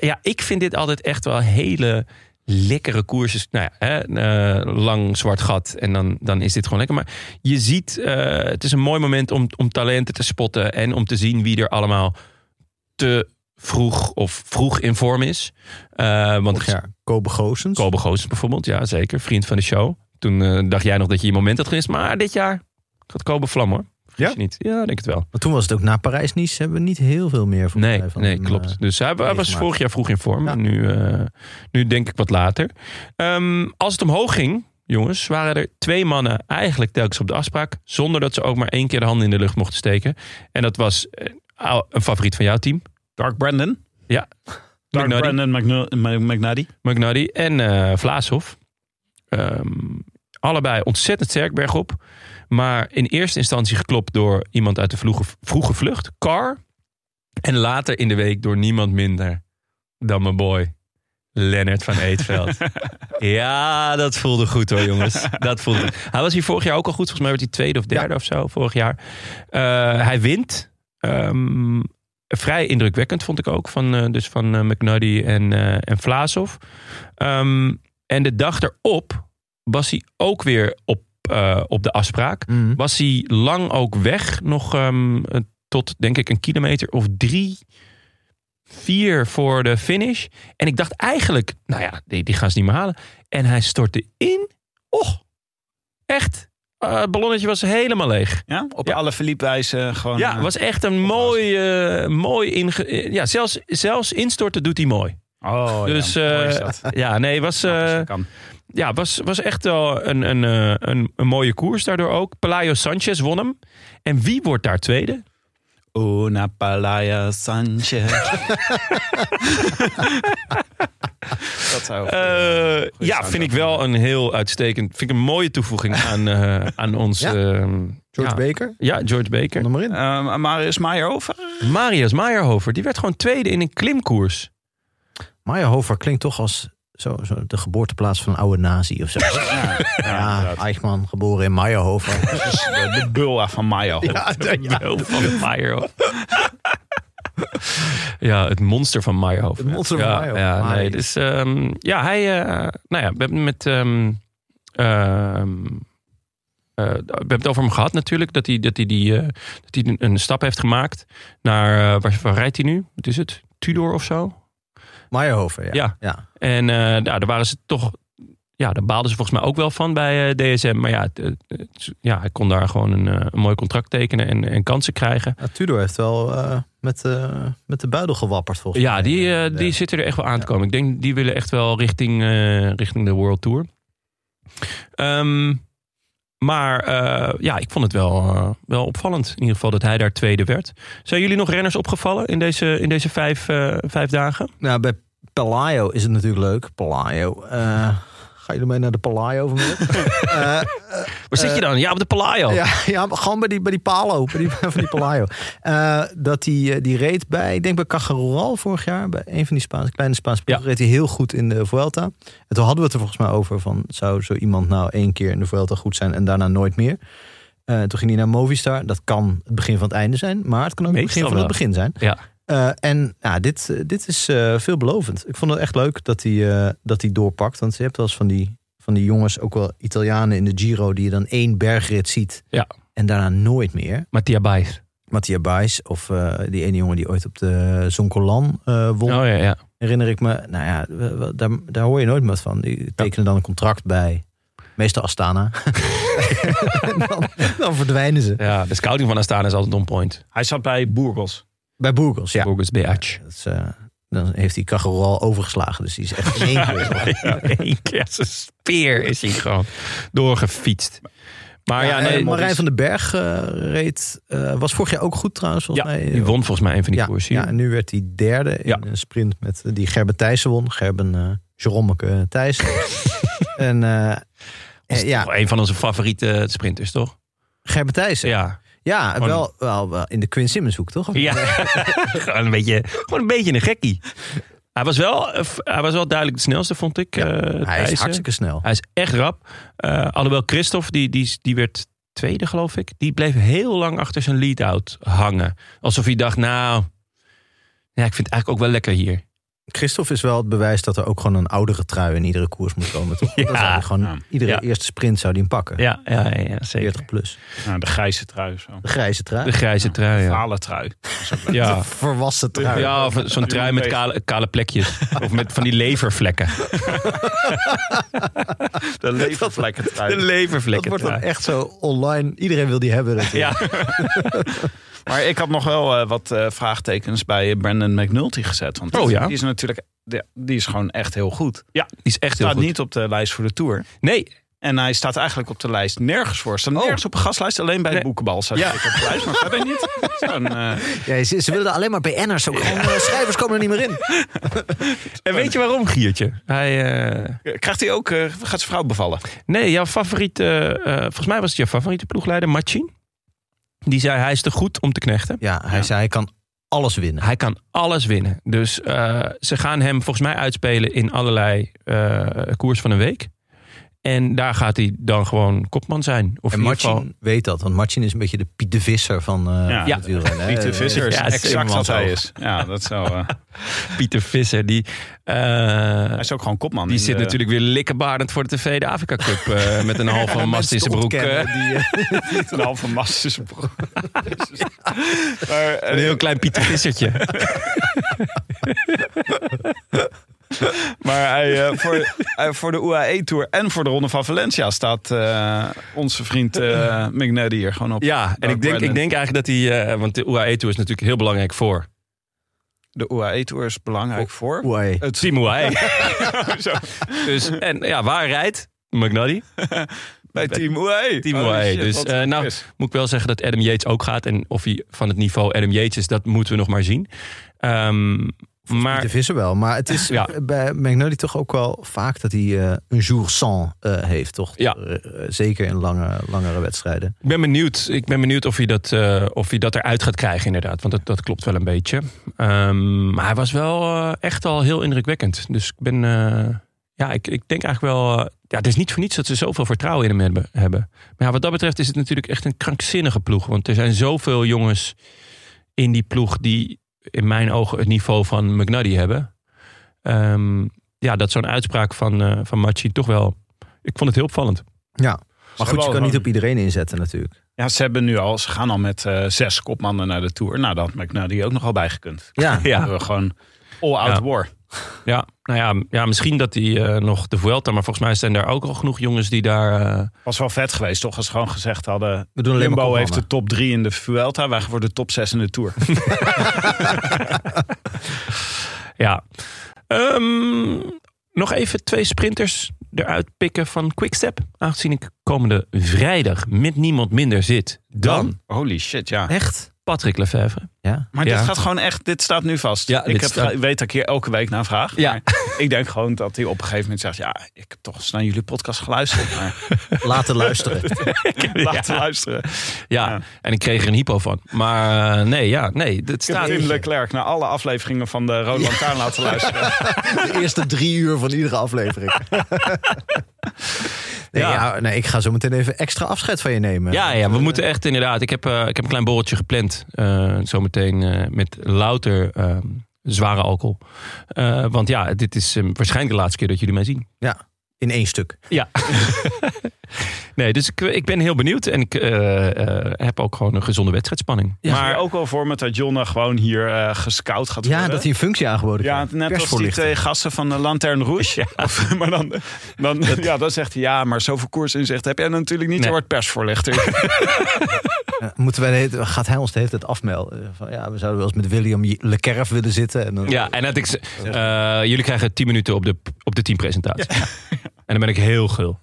ja, ik vind dit altijd echt wel hele lekkere koersjes. Nou ja, hè, eh, lang zwart gat en dan, dan is dit gewoon lekker. Maar je ziet, eh, het is een mooi moment om, om talenten te spotten... en om te zien wie er allemaal te vroeg of vroeg in vorm is. Eh, want Vorig jaar, Kobe Goossens. Kobe Goossens bijvoorbeeld, ja zeker. Vriend van de show. Toen eh, dacht jij nog dat je je moment had gemist. Maar dit jaar gaat Kobe vlam hoor. Vergis Ja? je niet. Ja, ik denk het wel. Maar toen was het ook na Parijs-Nice, hebben we niet heel veel meer volgens Nee, mij van nee hem, eh, klopt. Dus hij, hij was meegemaakt. vorig jaar vroeg in vorm. Ja. En nu, eh, nu denk ik wat later. Ehm, als het omhoog ging, jongens, waren er twee mannen eigenlijk telkens op de afspraak. Zonder dat ze ook maar één keer de handen in de lucht mochten steken. En dat was eh, ou- een favoriet van jouw team. Dark Brandon. Ja. Dark McNulty. Brandon McNu- M- McNuddy. McNuddy en eh Vlaashoff. Ehm, allebei ontzettend sterk bergop. Maar in eerste instantie geklopt door iemand uit de vroege, vroege vlucht, Carr. En later in de week door niemand minder dan mijn boy, Lennart van Eetveld. [laughs] ja, dat voelde goed hoor jongens. Dat voelde goed. Hij was hier vorig jaar ook al goed. Volgens mij werd hij tweede of derde of zo vorig jaar. Eh, hij wint. Ehm, vrij indrukwekkend vond ik ook. Van, eh, dus van eh, McNuddy en, eh en Vlaashoff. Ehm, en de dag erop was hij ook weer op, eh, op de afspraak. Mhm. Was hij lang ook weg. Nog ehm, eh, tot denk ik een kilometer of drie, vier voor de finish. En ik dacht eigenlijk, nou ja, die, die gaan ze niet meer halen. En hij stortte in. Och, echt. Eh, het ballonnetje was helemaal leeg. Ja? Op Ja. alle verliep wijze gewoon. Ja, eh, was echt een mooi, eh, mooi inge... eh, Ja, zelfs, zelfs instorten doet hij mooi. Oh, dus, ja. Mooi is eh, dat. Ja, nee, was, Ja, als eh, je kan. ja, was, was echt wel een, een, eh, een, een mooie koers daardoor ook. Pelayo Sanchez won hem. En wie wordt daar tweede? Una palaya Sanchez. [laughs] dat zou. Eh, ja, vind ik wel een heel uitstekend... Vind ik een mooie [laughs] toevoeging aan, eh, aan ons... Ja. eh, ja. George Baker, Ja, George Baker. kom er maar in. Eh, Marius Meyerhoven. Dus Marius Meyerhofer, die werd gewoon tweede in een klimkoers. Maya Hofer klinkt toch als zo, zo de geboorteplaats van een oude [laughs] nazi of zo. Ja, Eichmann, geboren in [laughs] Meyerhofer. Dus de, de bula van Meyerhoven. [laughs] Wel van Meyerhofer. ja, het monster van Meyerhofer. Het monster van ja, Meyerhofer. Ja, nee, Mei. dus, ehm, ja, hij... eh, nou ja, we hebben met... ehm, ehm, eh, we hebben het over hem gehad natuurlijk. Dat hij, dat hij, die, eh, dat hij een- een stap heeft gemaakt naar... eh, waar, waar rijdt hij nu? Wat is het? Tudor of zo? Meyerhofer, ja. Ja. ja. En eh, nou, daar waren ze toch ja, daar baalden ze volgens mij ook wel van bij eh, DSM. Maar ja, het- het- het- ja hij kon daar gewoon een, eh, een mooi contract tekenen en, en kansen krijgen. Ja, Tudor heeft wel eh, met, eh, met de buidel gewapperd volgens Ja, mij. die, eh, die Ja. zitten er echt wel aan te komen. Ik denk, die willen echt wel richting, eh, richting de World Tour. Ehm, maar eh, ja, ik vond het wel, eh, wel opvallend. In ieder geval dat hij daar tweede werd. Zijn jullie nog renners opgevallen in deze, in deze vijf, eh, vijf dagen? Nou, bij Pelayo is het natuurlijk leuk. Pelayo. eh, gaan jullie mee naar de Pelayo vanmiddag? [laughs] Eh, Waar zit je dan? Ja, op de Palaio. ja, ja, maar gewoon bij die, bij die Palo. Bij die, [laughs] van die Pelayo. Eh, dat die, eh, die reed bij, ik denk bij Cajarural vorig jaar. Bij een van die Spaanse, kleine Spaanse ploegen reed hij heel goed in de Vuelta. En toen hadden we het er volgens mij over van... zou zo iemand nou één keer in de Vuelta goed zijn en daarna nooit meer? Eh, toen ging hij naar Movistar. Dat kan het begin van het einde zijn. Maar het kan ook het Meestal begin van wel. het begin zijn. Ja. Eh, en nou, dit, eh, dit is eh, veelbelovend. Ik vond het echt leuk dat hij, eh, dat hij doorpakt. Want je hebt wel eens van die, van die jongens, ook wel Italianen in de Giro... die je dan één bergrit ziet Ja. en daarna nooit meer. Mattia Baez. Mattia Baes of eh, die ene jongen die ooit op de Zonkolan eh, won, Oh ja, ja. herinner ik me. Nou ja, we- we- daar, daar hoor je nooit meer van. Die tekenen dan een contract bij, meestal [laughs] Astana. En dan, dan verdwijnen ze. ja de scouting van Astana is altijd on point. Hij zat bij Boerbos. Bij Burgos, ja. Burgos Beach. Dat is, eh, dan heeft hij Cagoral overgeslagen, dus die is echt [laughs] in één keer. [laughs] Ja, één keer als een speer is hij gewoon doorgefietst. Maar ja, Ja, nee, eh, Marijn van den Berg eh, reed, eh, was vorig jaar ook goed trouwens, volgens ja, mij. eh, die won volgens mij een van die ja, koersen. ja, en nu werd hij derde in Ja. een sprint met eh, die Gerben Thijssen won. Gerben eh Jeromeke Thijssen. [laughs] en eh, Is eh, ja, toch een van onze favoriete eh, sprinters, toch? Gerben Thijssen. Ja, Ja. gewoon- wel, wel, wel in de Quinn Simmons hoek, toch? [laughs] ja. [laughs] gewoon, een beetje, gewoon een beetje een gekkie. Hij was, wel, eh, f- hij was wel duidelijk de snelste, vond ik. Ja, eh, Hij Thijssen. is hartstikke snel. Hij is echt rap. Eh, alhoewel Christophe, die, die, die werd tweede, geloof ik. Die bleef heel lang achter zijn lead-out hangen. Alsof hij dacht, nou... Ja, ik vind het eigenlijk ook wel lekker hier. Christophe is wel het bewijs dat er ook gewoon een oudere trui in iedere koers moet [laughs] komen. Toch? Dan zou hij gewoon, Ja. Iedere Ja. eerste sprint zou die hem pakken. Ja, ja, ja, ja, 40 zeker. plus. Nou, de grijze trui. Zo. De grijze De [laughs] trui. grijze trui, ja. Vale trui. [laughs] Ja, Verwassen trui. ja of zo'n trui met kale, kale plekjes. Of met van die levervlekken. De [laughs] levervlekken De trui. Dat levervlekken wordt dan trui. echt zo online. Iedereen wil die hebben. natuurlijk. Ja. [laughs] Maar ik had nog wel eh, wat eh, vraagtekens bij Brandon McNulty gezet. Want Oh, ja. die is natuurlijk die, die is gewoon echt heel goed. Ja, die is echt heel Staat goed. niet op de lijst voor de Tour. Nee, En hij staat eigenlijk op de lijst nergens voor. Staat nergens op een gastlijst. Alleen Oh. bij Nee. de boekenbal staat Ja. hij op de lijst. Maar verder niet. Zo'n, eh, Ja, ze, ze wilden alleen maar BN'ers. Ook gewoon, eh, schrijvers komen er niet meer in. En weet je waarom, Giertje? Hij, eh, krijgt hij ook... eh, gaat zijn vrouw bevallen? Nee, jouw favoriete... eh, volgens mij was het jouw favoriete ploegleider, Machin. Die zei, hij is te goed om te knechten. Ja, hij zei hij kan alles winnen. Hij kan alles winnen. Dus eh, ze gaan hem volgens mij uitspelen in allerlei eh, koers van een week. En daar gaat hij dan gewoon kopman zijn. Of En in ieder geval- Martin weet dat, want Martin is een beetje de Piet de Visser van eh, Ja. van het wielrennen. hè. Niet de Visser is ja, het is exact wat Timmermans hij ook. is. Ja, dat zou... eh, Pieter Visser, die, eh, hij is ook gewoon kopman. die in zit eh, de- natuurlijk weer likkenbarend voor de TV de Afrika Cup. eh, [laughs] met een halve mast in zijn broek. Ontkennen, eh. die, eh, Een halve mast is een [laughs] broer. Jezus. [laughs] Maar, eh, Een heel klein Pieter Vissertje. maar hij, eh, voor, eh, voor de UAE-tour en voor de Ronde van Valencia staat eh, onze vriend eh McNally hier gewoon op. Ja, en Doug ik denk, ik Brennan. denk eigenlijk dat hij... eh, want de UAE Tour is natuurlijk heel belangrijk voor... De UAE-tour is belangrijk [laughs] voor. Oei. Het Team UAE. [laughs] dus, en ja, waar rijdt McNally? Bij Team UAE. E. Team Oh, UAE. shit, Dus, wat eh, nou- is. Moet ik wel zeggen dat Adam Yates ook gaat. En of hij van het niveau Adam Yates is, dat moeten we nog maar zien. Ehm, Piet de maar Visser wel, maar het is Ja. bij McNulty toch ook wel vaak dat hij eh, een jour sans eh, heeft, toch? Ja. Eh, eh, zeker in lange, langere wedstrijden. ik ben benieuwd, ik ben benieuwd of, hij dat, eh, of hij dat eruit gaat krijgen inderdaad. Want dat, dat klopt wel een beetje. Ehm, maar hij was wel eh, echt al heel indrukwekkend. Dus ik ben... eh, ja, ik, ik denk eigenlijk wel... eh, ja, het is niet voor niets dat ze zoveel vertrouwen in hem hebben- hebben. Maar ja, wat dat betreft is het natuurlijk echt een krankzinnige ploeg. Want er zijn zoveel jongens in die ploeg die in mijn ogen het niveau van McNuddy hebben. Ehm, ja, dat zo'n uitspraak van, eh van Machi toch wel... Ik vond het heel opvallend. Ja. Maar hebben goed, je al kan niet gewoon- op iedereen inzetten natuurlijk. Ja, ze hebben nu al, ze gaan al met eh, zes kopmannen naar de Tour. Nou, dat had McNally ook nogal bijgekund. Ja. Dan hebben we gewoon all-out Ja. war. Ja, nou ja, m- ja misschien dat hij eh, nog de Vuelta... maar volgens mij zijn daar ook al genoeg jongens die daar... eh, Was wel vet geweest, toch? Als ze gewoon gezegd hadden... We doen alleen maar Limbo kopmannen. heeft de top drie in de Vuelta. Wij worden de top zes in de Tour. ja. Ehm, nog even twee sprinters eruit pikken van Quickstep. Aangezien ik komende vrijdag met niemand minder zit dan Holy shit, ja. Echt? Patrick Lefevre. Ja. Maar Ja. dit gaat gewoon echt, dit staat nu vast. Ja, ik dit heb, staat- ge- weet dat ik hier elke week naar vraag. Ja. Maar ik denk gewoon dat hij op een gegeven moment zegt: Ja, ik heb toch eens naar jullie podcast geluisterd. Maar Laten luisteren. [laughs] laten luisteren. Ja, Ja. en ik kreeg er een hypo van. Maar eh, nee, ja, nee, dat Ik heb staat... Tim Leclerc naar alle afleveringen van de Roland Lantaarn laten [laughs] luisteren. De eerste drie uur van iedere aflevering. nee, ja. Ja. nee, ik ga zo meteen even extra afscheid van je nemen. Ja, ja, we moeten echt inderdaad. Ik heb, eh, ik heb een klein borreltje gepland. eh, zometeen eh, met louter eh, zware alcohol. Eh, want ja, dit is eh, waarschijnlijk de laatste keer dat jullie mij zien. Ja, in één stuk. Ja. nee, dus ik, ik ben heel benieuwd. En ik eh, eh, heb ook gewoon een gezonde wedstrijdspanning. Maar maar ook wel voor me dat Jonna gewoon hier eh, gescout gaat worden. Ja, dat hij een functie aangeboden Ja, krijgt. net als die Persvoorlichter. twee gasten van de Lantern Rouge. Of, [laughs] maar dan, dan, ja, dan zegt hij, ja, maar zoveel koersinzicht heb jij natuurlijk niet. Nee. Je wordt persvoorlichter. Ja, Eh, moeten wij de hele- gaat hij ons de hele tijd afmelden? Eh, Van, ja, we zouden wel eens met William Lekerf willen zitten. En dan, ja, en dat ik, ze- eh, jullie krijgen 10 minuten op de, op de teampresentatie. En dan ben ik heel gul.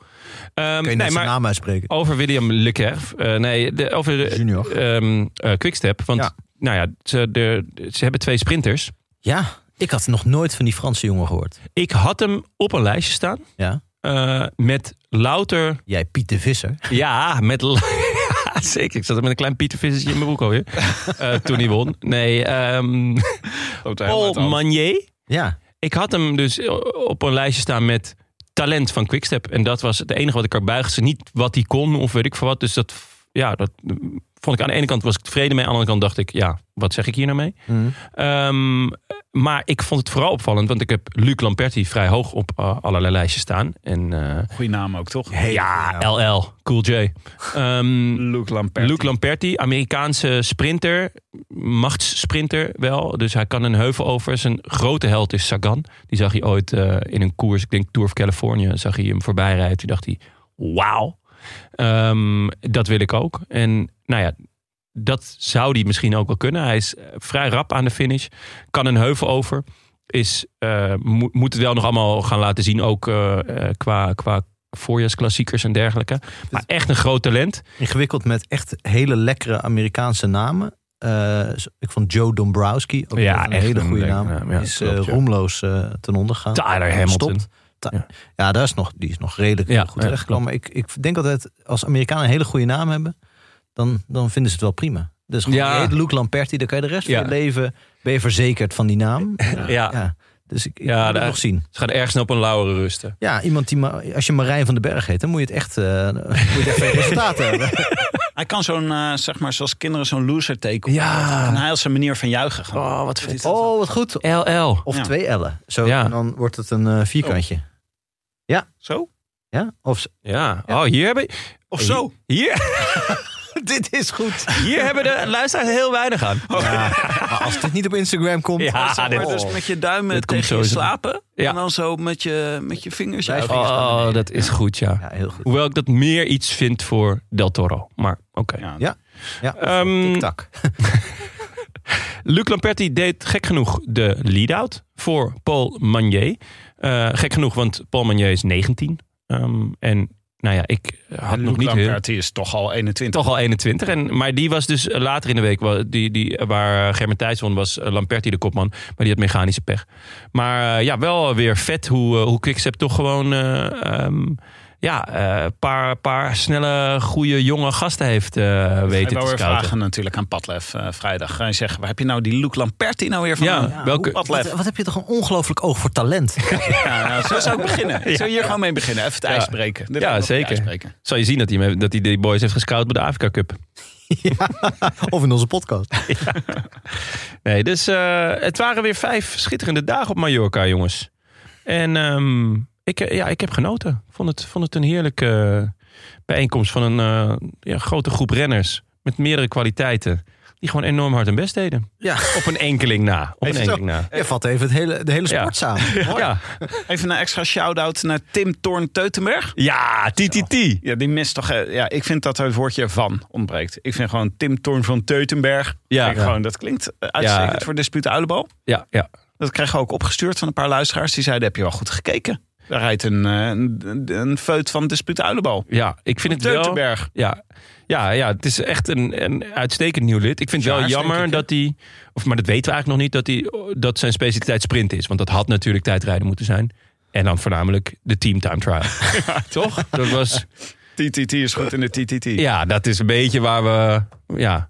Ehm, kun je net nee, zijn maar naam uitspreken. over William Lekerf. eh, nee, de, over eh, Junior. ehm, eh, Quickstep. Want Ja. nou ja, ze, de, ze hebben twee sprinters. Ja, ik had nog nooit van die Franse jongen gehoord. Ik had hem op een lijstje staan. Ja. eh, met louter. Jij, Piet de Visser. Ja, met. l- [laughs] Ja, Zeker, ik zat met een klein Pieter Vissertje in mijn broek alweer. Eh, toen hij won. Nee, ehm [laughs] Loopt hij helemaal uit de Paul hand. Manier. Ja, Ik had hem dus op een lijstje staan met talent van Quickstep. En dat was het enige wat ik erbij gezet. Niet wat hij kon of weet ik veel wat. Dus dat, ja, dat mm, vond ik aan de ene kant was ik tevreden mee. Aan de andere kant dacht ik, ja, wat zeg ik hier nou mee? Ehm, maar ik vond het vooral opvallend. Want ik heb Luc Lamperti vrij hoog op eh, allerlei lijstjes staan. En eh, Goeie naam ook, toch? ja, LL, Cool J. Ehm Luke Lampert. Luke Lamperti, Amerikaanse sprinter, machtssprinter wel. Dus hij kan een heuvel over. Zijn grote held is Sagan. Die zag hij ooit eh, in een koers, ik denk Tour of California, zag hij hem voorbij rijden. Toen dacht hij, wauw, Ehm, dat wil ik ook. En nou ja, dat zou hij misschien ook wel kunnen. Hij is eh, vrij rap aan de finish, kan een heuvel over. Is, eh, mo- moet het wel nog allemaal gaan laten zien, ook eh, eh, qua, qua voorjaarsklassiekers en dergelijke. Maar echt een groot talent. ingewikkeld met echt hele lekkere Amerikaanse namen. Eh, ik vond Joe Dombrowski ook Ja, echt een echt hele een goede leuke naam. naam, ja, is eh, klopt, ja. roemloos eh, ten onder gegaan. Tyler Hamilton. Gestopt. Ta- Ja. ja, daar is nog, die is nog redelijk Ja, goed ja, terechtgekomen. Maar ik, ik denk altijd, als Amerikanen een hele goede naam hebben, dan, dan vinden ze het wel prima. Dus gewoon Ja. die hele Luke Lamperti, dan kan je de rest Ja. van je leven, ben je verzekerd van die naam. Ja. [laughs] Ja, Dus ik, ik Ja, moet het daar- nog zien. ze gaan ergens op een lauweren rusten. Ja, iemand die, ma- als je Marijn van den Berg heet, dan moet je het echt, eh, [laughs] moet je echt veel resultaten hebben. [laughs] Hij kan zo'n, eh, zeg maar, zoals kinderen zo'n loser take op. Ja. En hij als zijn manier van juichen. gewoon. Oh, wat vet. Oh, wat goed. LL. Of Ja. twee ellen. Zo, Ja. Oh. En dan wordt het een eh, vierkantje. Zo? Ja? [laughs] Of s- Ja. Oh, hier hebben, Of zo? hier, dit is goed. hier [laughs] hebben de luisteraars heel weinig aan. Ja, maar als dit niet op Instagram komt. Oh. Ja, dan- dit- Maar dus met je duimen Oh. Dit komt tegen je sowieso. slapen. Ja. En dan zo met je, met je vingers. Wijs- juichen. Oh, dat is goed, ja. Ja, heel goed. Hoewel ik dat meer iets vind voor Del Toro. Maar oké. Ja. Ja. Ehm, TikTok. Luc Lamperti deed gek genoeg de lead-out voor Paul Manier. Eh, gek genoeg, want Paul Manier is 19. Ehm, en nou ja, ik had En nog Luke niet heel... Lampert die is toch al 21. Toch al 21. En, maar die was dus eh, later in de week, wa- die, die, eh, waar Germen Thijs won, was eh, Lamperti de kopman. Maar die had mechanische pech. Maar eh, ja, wel weer vet hoe, eh, hoe Quickstep toch gewoon eh, ehm, ja, eh, paar, paar snelle, goede, jonge gasten heeft eh, weten Ik wou te weer scouten. vragen natuurlijk aan Padlef eh, vrijdag. Ga je zeggen, waar heb je nou die Luke Lamperti nou weer van? Ja, Ja, welke- hoe Wat, Padlef. wat heb je toch een ongelooflijk oog voor talent? [laughs] [laughs] Ja, nou, zo zou ik [laughs] beginnen. Ik zou hier gewoon mee beginnen. Even het ijs breken. Dit Ja, lijkt me zeker. op het ijs breken. Zal je zien dat hij, hem heeft- dat hij die boys heeft gescout bij de Afrika Cup. of in onze Eh. podcast. Nee, dus eh, het waren weer vijf schitterende dagen op Mallorca, jongens. En ehm, ik, eh, ja, ik heb genoten. Vond het, vond het een heerlijk, eh, bijeenkomst van een eh, ja, grote groep renners met meerdere kwaliteiten. Die gewoon enorm hard hun best deden. Ja. Op een enkeling na. Op een Even zo. enkeling na. Je vat even het hele, de hele Ja. sport samen. Mooi. Ja, Even een extra shout-out naar Tim Thorn-Teutenberg. ja TTT. Ja, die mist toch. eh, Ja, ik vind dat het woordje van ontbreekt. Ik vind gewoon Tim Thorn van Teutenberg. Ja. Ja, Ja. gewoon, dat klinkt eh, uitstekend Ja. voor Dispute Uilenbal. Ja, ja. Dat kregen we ook opgestuurd van een paar luisteraars. Die zeiden: Heb je wel goed gekeken? Daar rijdt een, eh, een, een feut van Dispute Uilenbal. Ja, ik vind het wel... Teutenberg. Ja, ja, ja het is echt een, een uitstekend nieuw lid. Ik vind het Ja, wel jammer zeker, hè? dat hij... Of, maar dat weten we eigenlijk nog niet, dat, hij, dat zijn specialiteit sprint is. Want dat had natuurlijk tijdrijden moeten zijn. En dan voornamelijk de teamtime [laughs] trial. Toch? Dat was, TTT is goed in de TTT. ja, dat is een beetje waar we... Ja,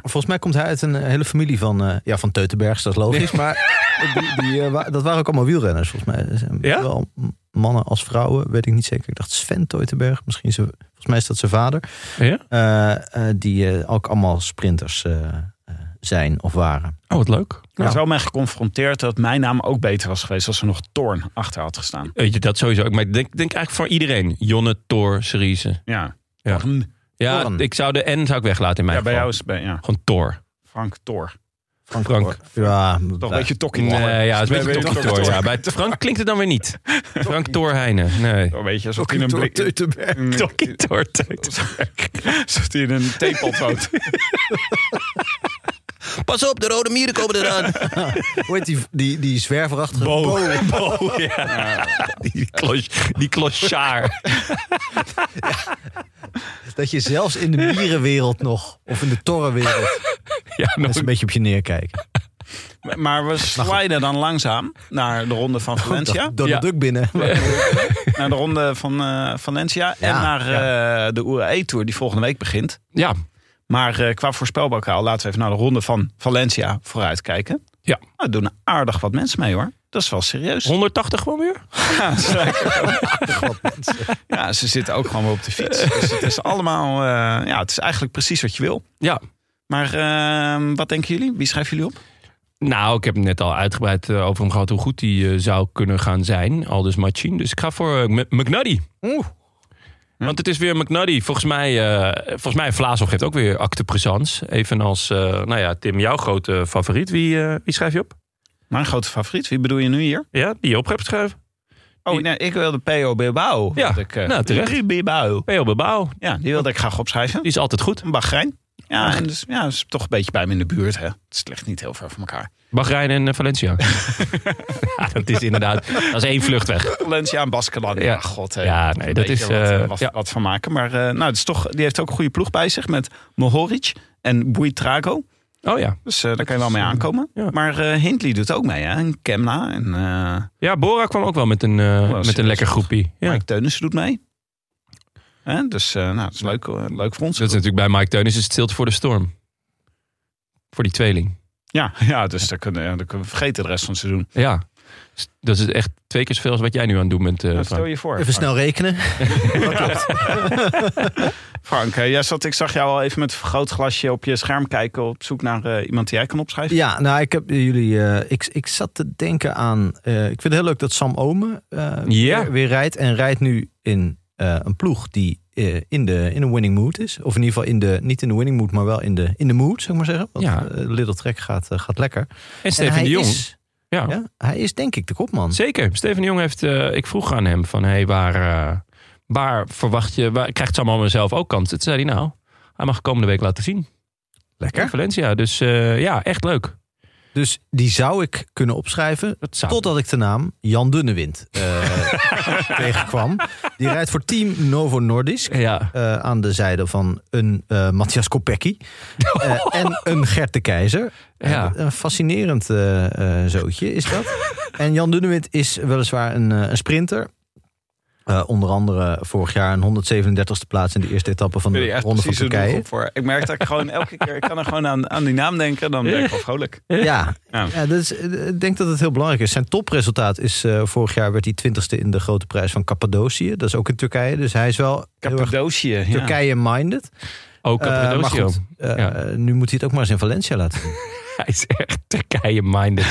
Volgens mij komt hij uit een eh, hele familie van, eh, ja, van Teutenbergs, dat is logisch. Maar die, die, eh, wa- dat waren ook allemaal wielrenners, volgens mij. Er zijn Ja? Wel m- mannen als vrouwen, weet ik niet zeker. Ik dacht Sven Teutenberg, misschien zijn, volgens mij is dat zijn vader. Ja? Eh, eh, die eh, ook allemaal sprinters eh, eh, zijn of waren. oh wat leuk. Er is wel mij geconfronteerd dat mijn naam ook beter was geweest als er nog Thorn achter had gestaan. Weet je, dat sowieso. ook. Maar ik denk, denk eigenlijk voor iedereen. Jonne, Tor, Cerise. Ja. Ja. Thorn. Ja, Torren. ik zou de N zou ik weglaten in mijn ja bij geval. jou is het bij, ja. Gewoon Tor. Frank Thor. Frank. Frank. Ja, Toch eh, een beetje tokkie. Nee, ja, het is een beetje Wij weten Tokkie ook Tor. Tor. Ja, bij Frank klinkt het dan weer [laughs] niet. Frank Tor Heijnen. Nee. Zo Oh, Weet je, alsof Tokkie hij in een Tor blik- Teutenberg. in- Tokkie Tor Teutenberg. Alsof hij in een theepot woont. Pas op, de rode mieren komen eraan. Hoe heet die, die, die zwerverachtige Bo. Bo? Bo, ja. [laughs] Die, klos, die klosjaar. Dat je zelfs in de mierenwereld nog, of in de torrenwereld, Ja, nog mensen een beetje op je neerkijken. [laughs] Maar Nou we sliden dan langzaam naar de ronde van Valencia. Donald Ja. Duck binnen. Naar de ronde van eh, Valencia. Ja, en naar eh, de UAE-tour die volgende week begint. [laughs] Ja, Maar eh, qua voorspelbokaal laten we even naar de ronde van Valencia vooruitkijken. Ja. Nou, er doen aardig wat mensen mee hoor. Dat is wel serieus. 180 gewoon weer? Ja, zeker. ja, ze zitten ook gewoon weer op de fiets. Dus het is allemaal, eh, ja, het is eigenlijk precies wat je wil. Ja. Maar eh, wat denken jullie? Wie schrijven jullie op? Nou, ik heb net al uitgebreid eh, over hem gehad hoe goed die eh, zou kunnen gaan zijn. Al dus Machin. Dus ik ga voor eh, M- McNuddy. Want het is weer McNuddy. Volgens mij, eh volgens mij Vlaashoff heeft ook weer acte présence. Evenals, eh, nou ja, Tim, jouw grote favoriet. Wie, eh, wie schrijf je op? Mijn grote favoriet. Wie bedoel je nu hier? Ja, die je op hebt geschreven. Oh, Die- nee, ik wilde P.O. Bilbao. Ja, wilde ik, eh, nou, terecht. Ruud Bilbao. Peo Bilbao. Ja, die wilde ik graag opschrijven. Die is altijd goed. Een Bahrein. Ja, en dus, ja, is toch een beetje bij me in de buurt. Hè. Het ligt niet heel ver van elkaar. Bahrein en eh, [laughs] Valencia. ja, dat is inderdaad. Dat is één vlucht weg. Valencia en Baskeland. Ja. Ja, god. Hè. Ja, Een nee, dat beetje is, Wat, eh, eh, wat, ja. wat van maken. Maar eh, nou, het is toch, die heeft ook een goede ploeg bij zich met Mohoric en Buitrago. Oh ja. Dus eh, daar kan je wel mee aankomen. ja. Maar eh, Hindley doet ook mee, hè? En Kemna en eh Ja, Bora kwam ook wel met een, eh, met een Oh, serieus. lekker groepie. Ja. Mike Teunissen doet mee. Hè? Dus eh, nou, het is leuk, eh, leuk voor ons. Dat is natuurlijk bij Mike Teunis is het stilte voor de storm. Voor die tweeling. Ja, [laughs] ja, dus daar kunnen, ja, daar kunnen we vergeten de rest van het seizoen. Ja. Dus Dat is echt twee keer zoveel als wat jij nu aan het doen bent. eh, Nou, Frank. stel je voor. Even snel rekenen. Frank, eh, jij zat, ik zag jou al even met een vergrootglasje op je scherm kijken. op zoek naar eh, iemand die jij kan opschrijven. [laughs] Ja, nou, ik heb jullie. eh, ik, ik zat te denken aan. eh, ik vind het heel leuk dat Sam Omen eh, Ja. weer, weer rijdt. En rijdt nu in eh, een ploeg die eh, in, de, in een winning mood is. Of in ieder geval in de, niet in de winning mood, maar wel in de, in de mood, zou ik maar zeggen. Want Ja. ja. Little Trek gaat, eh, gaat lekker. en Steven hij de Jong. Is, ja. ja, hij is denk ik de kopman. Zeker. Steven de Jong heeft... eh, ik vroeg aan hem van... Hey, waar, eh, waar verwacht je... Waar, krijgt Sam Allman zelf ook kansen? Toen zei hij nou... Hij mag komende week laten zien. In Lekker. Valencia. Dus eh, ja, echt leuk. Dus die zou ik kunnen opschrijven. Dat zou... Totdat ik de naam Jan Dunnewind eh, [laughs] tegenkwam. Die rijdt voor Team Novo Nordisk. Ja. eh, aan de zijde van een eh Matthias [laughs] Kopecky eh, en een Gert de Keizer. Ja. Eh, een fascinerend eh, eh, zootje is dat. [laughs] en Jan Dunnewit is weliswaar een, eh, een sprinter. Eh, onder andere vorig jaar een 137ste plaats in de eerste etappe van Ik de ben hier echt Ronde van precies de Turkije. doelgroep voor. Ik merk dat ik gewoon elke keer, ik kan er gewoon aan, aan die naam denken. Dan ben ik wel vrolijk. Ja, [laughs] Ja. ja. dat is, eh, ik denk dat het heel belangrijk is. Zijn topresultaat is, eh, vorig jaar werd hij 20ste in de grote prijs van Cappadocië. Dat is ook in Turkije, dus hij is wel heel erg Cappadocië. ja. Turkije-minded. Ook Eh, maar Cappadocio. [laughs] goed, eh, Ja. eh, nu moet hij het ook maar eens in Valencia laten zien. Hij is echt Turkije-minded.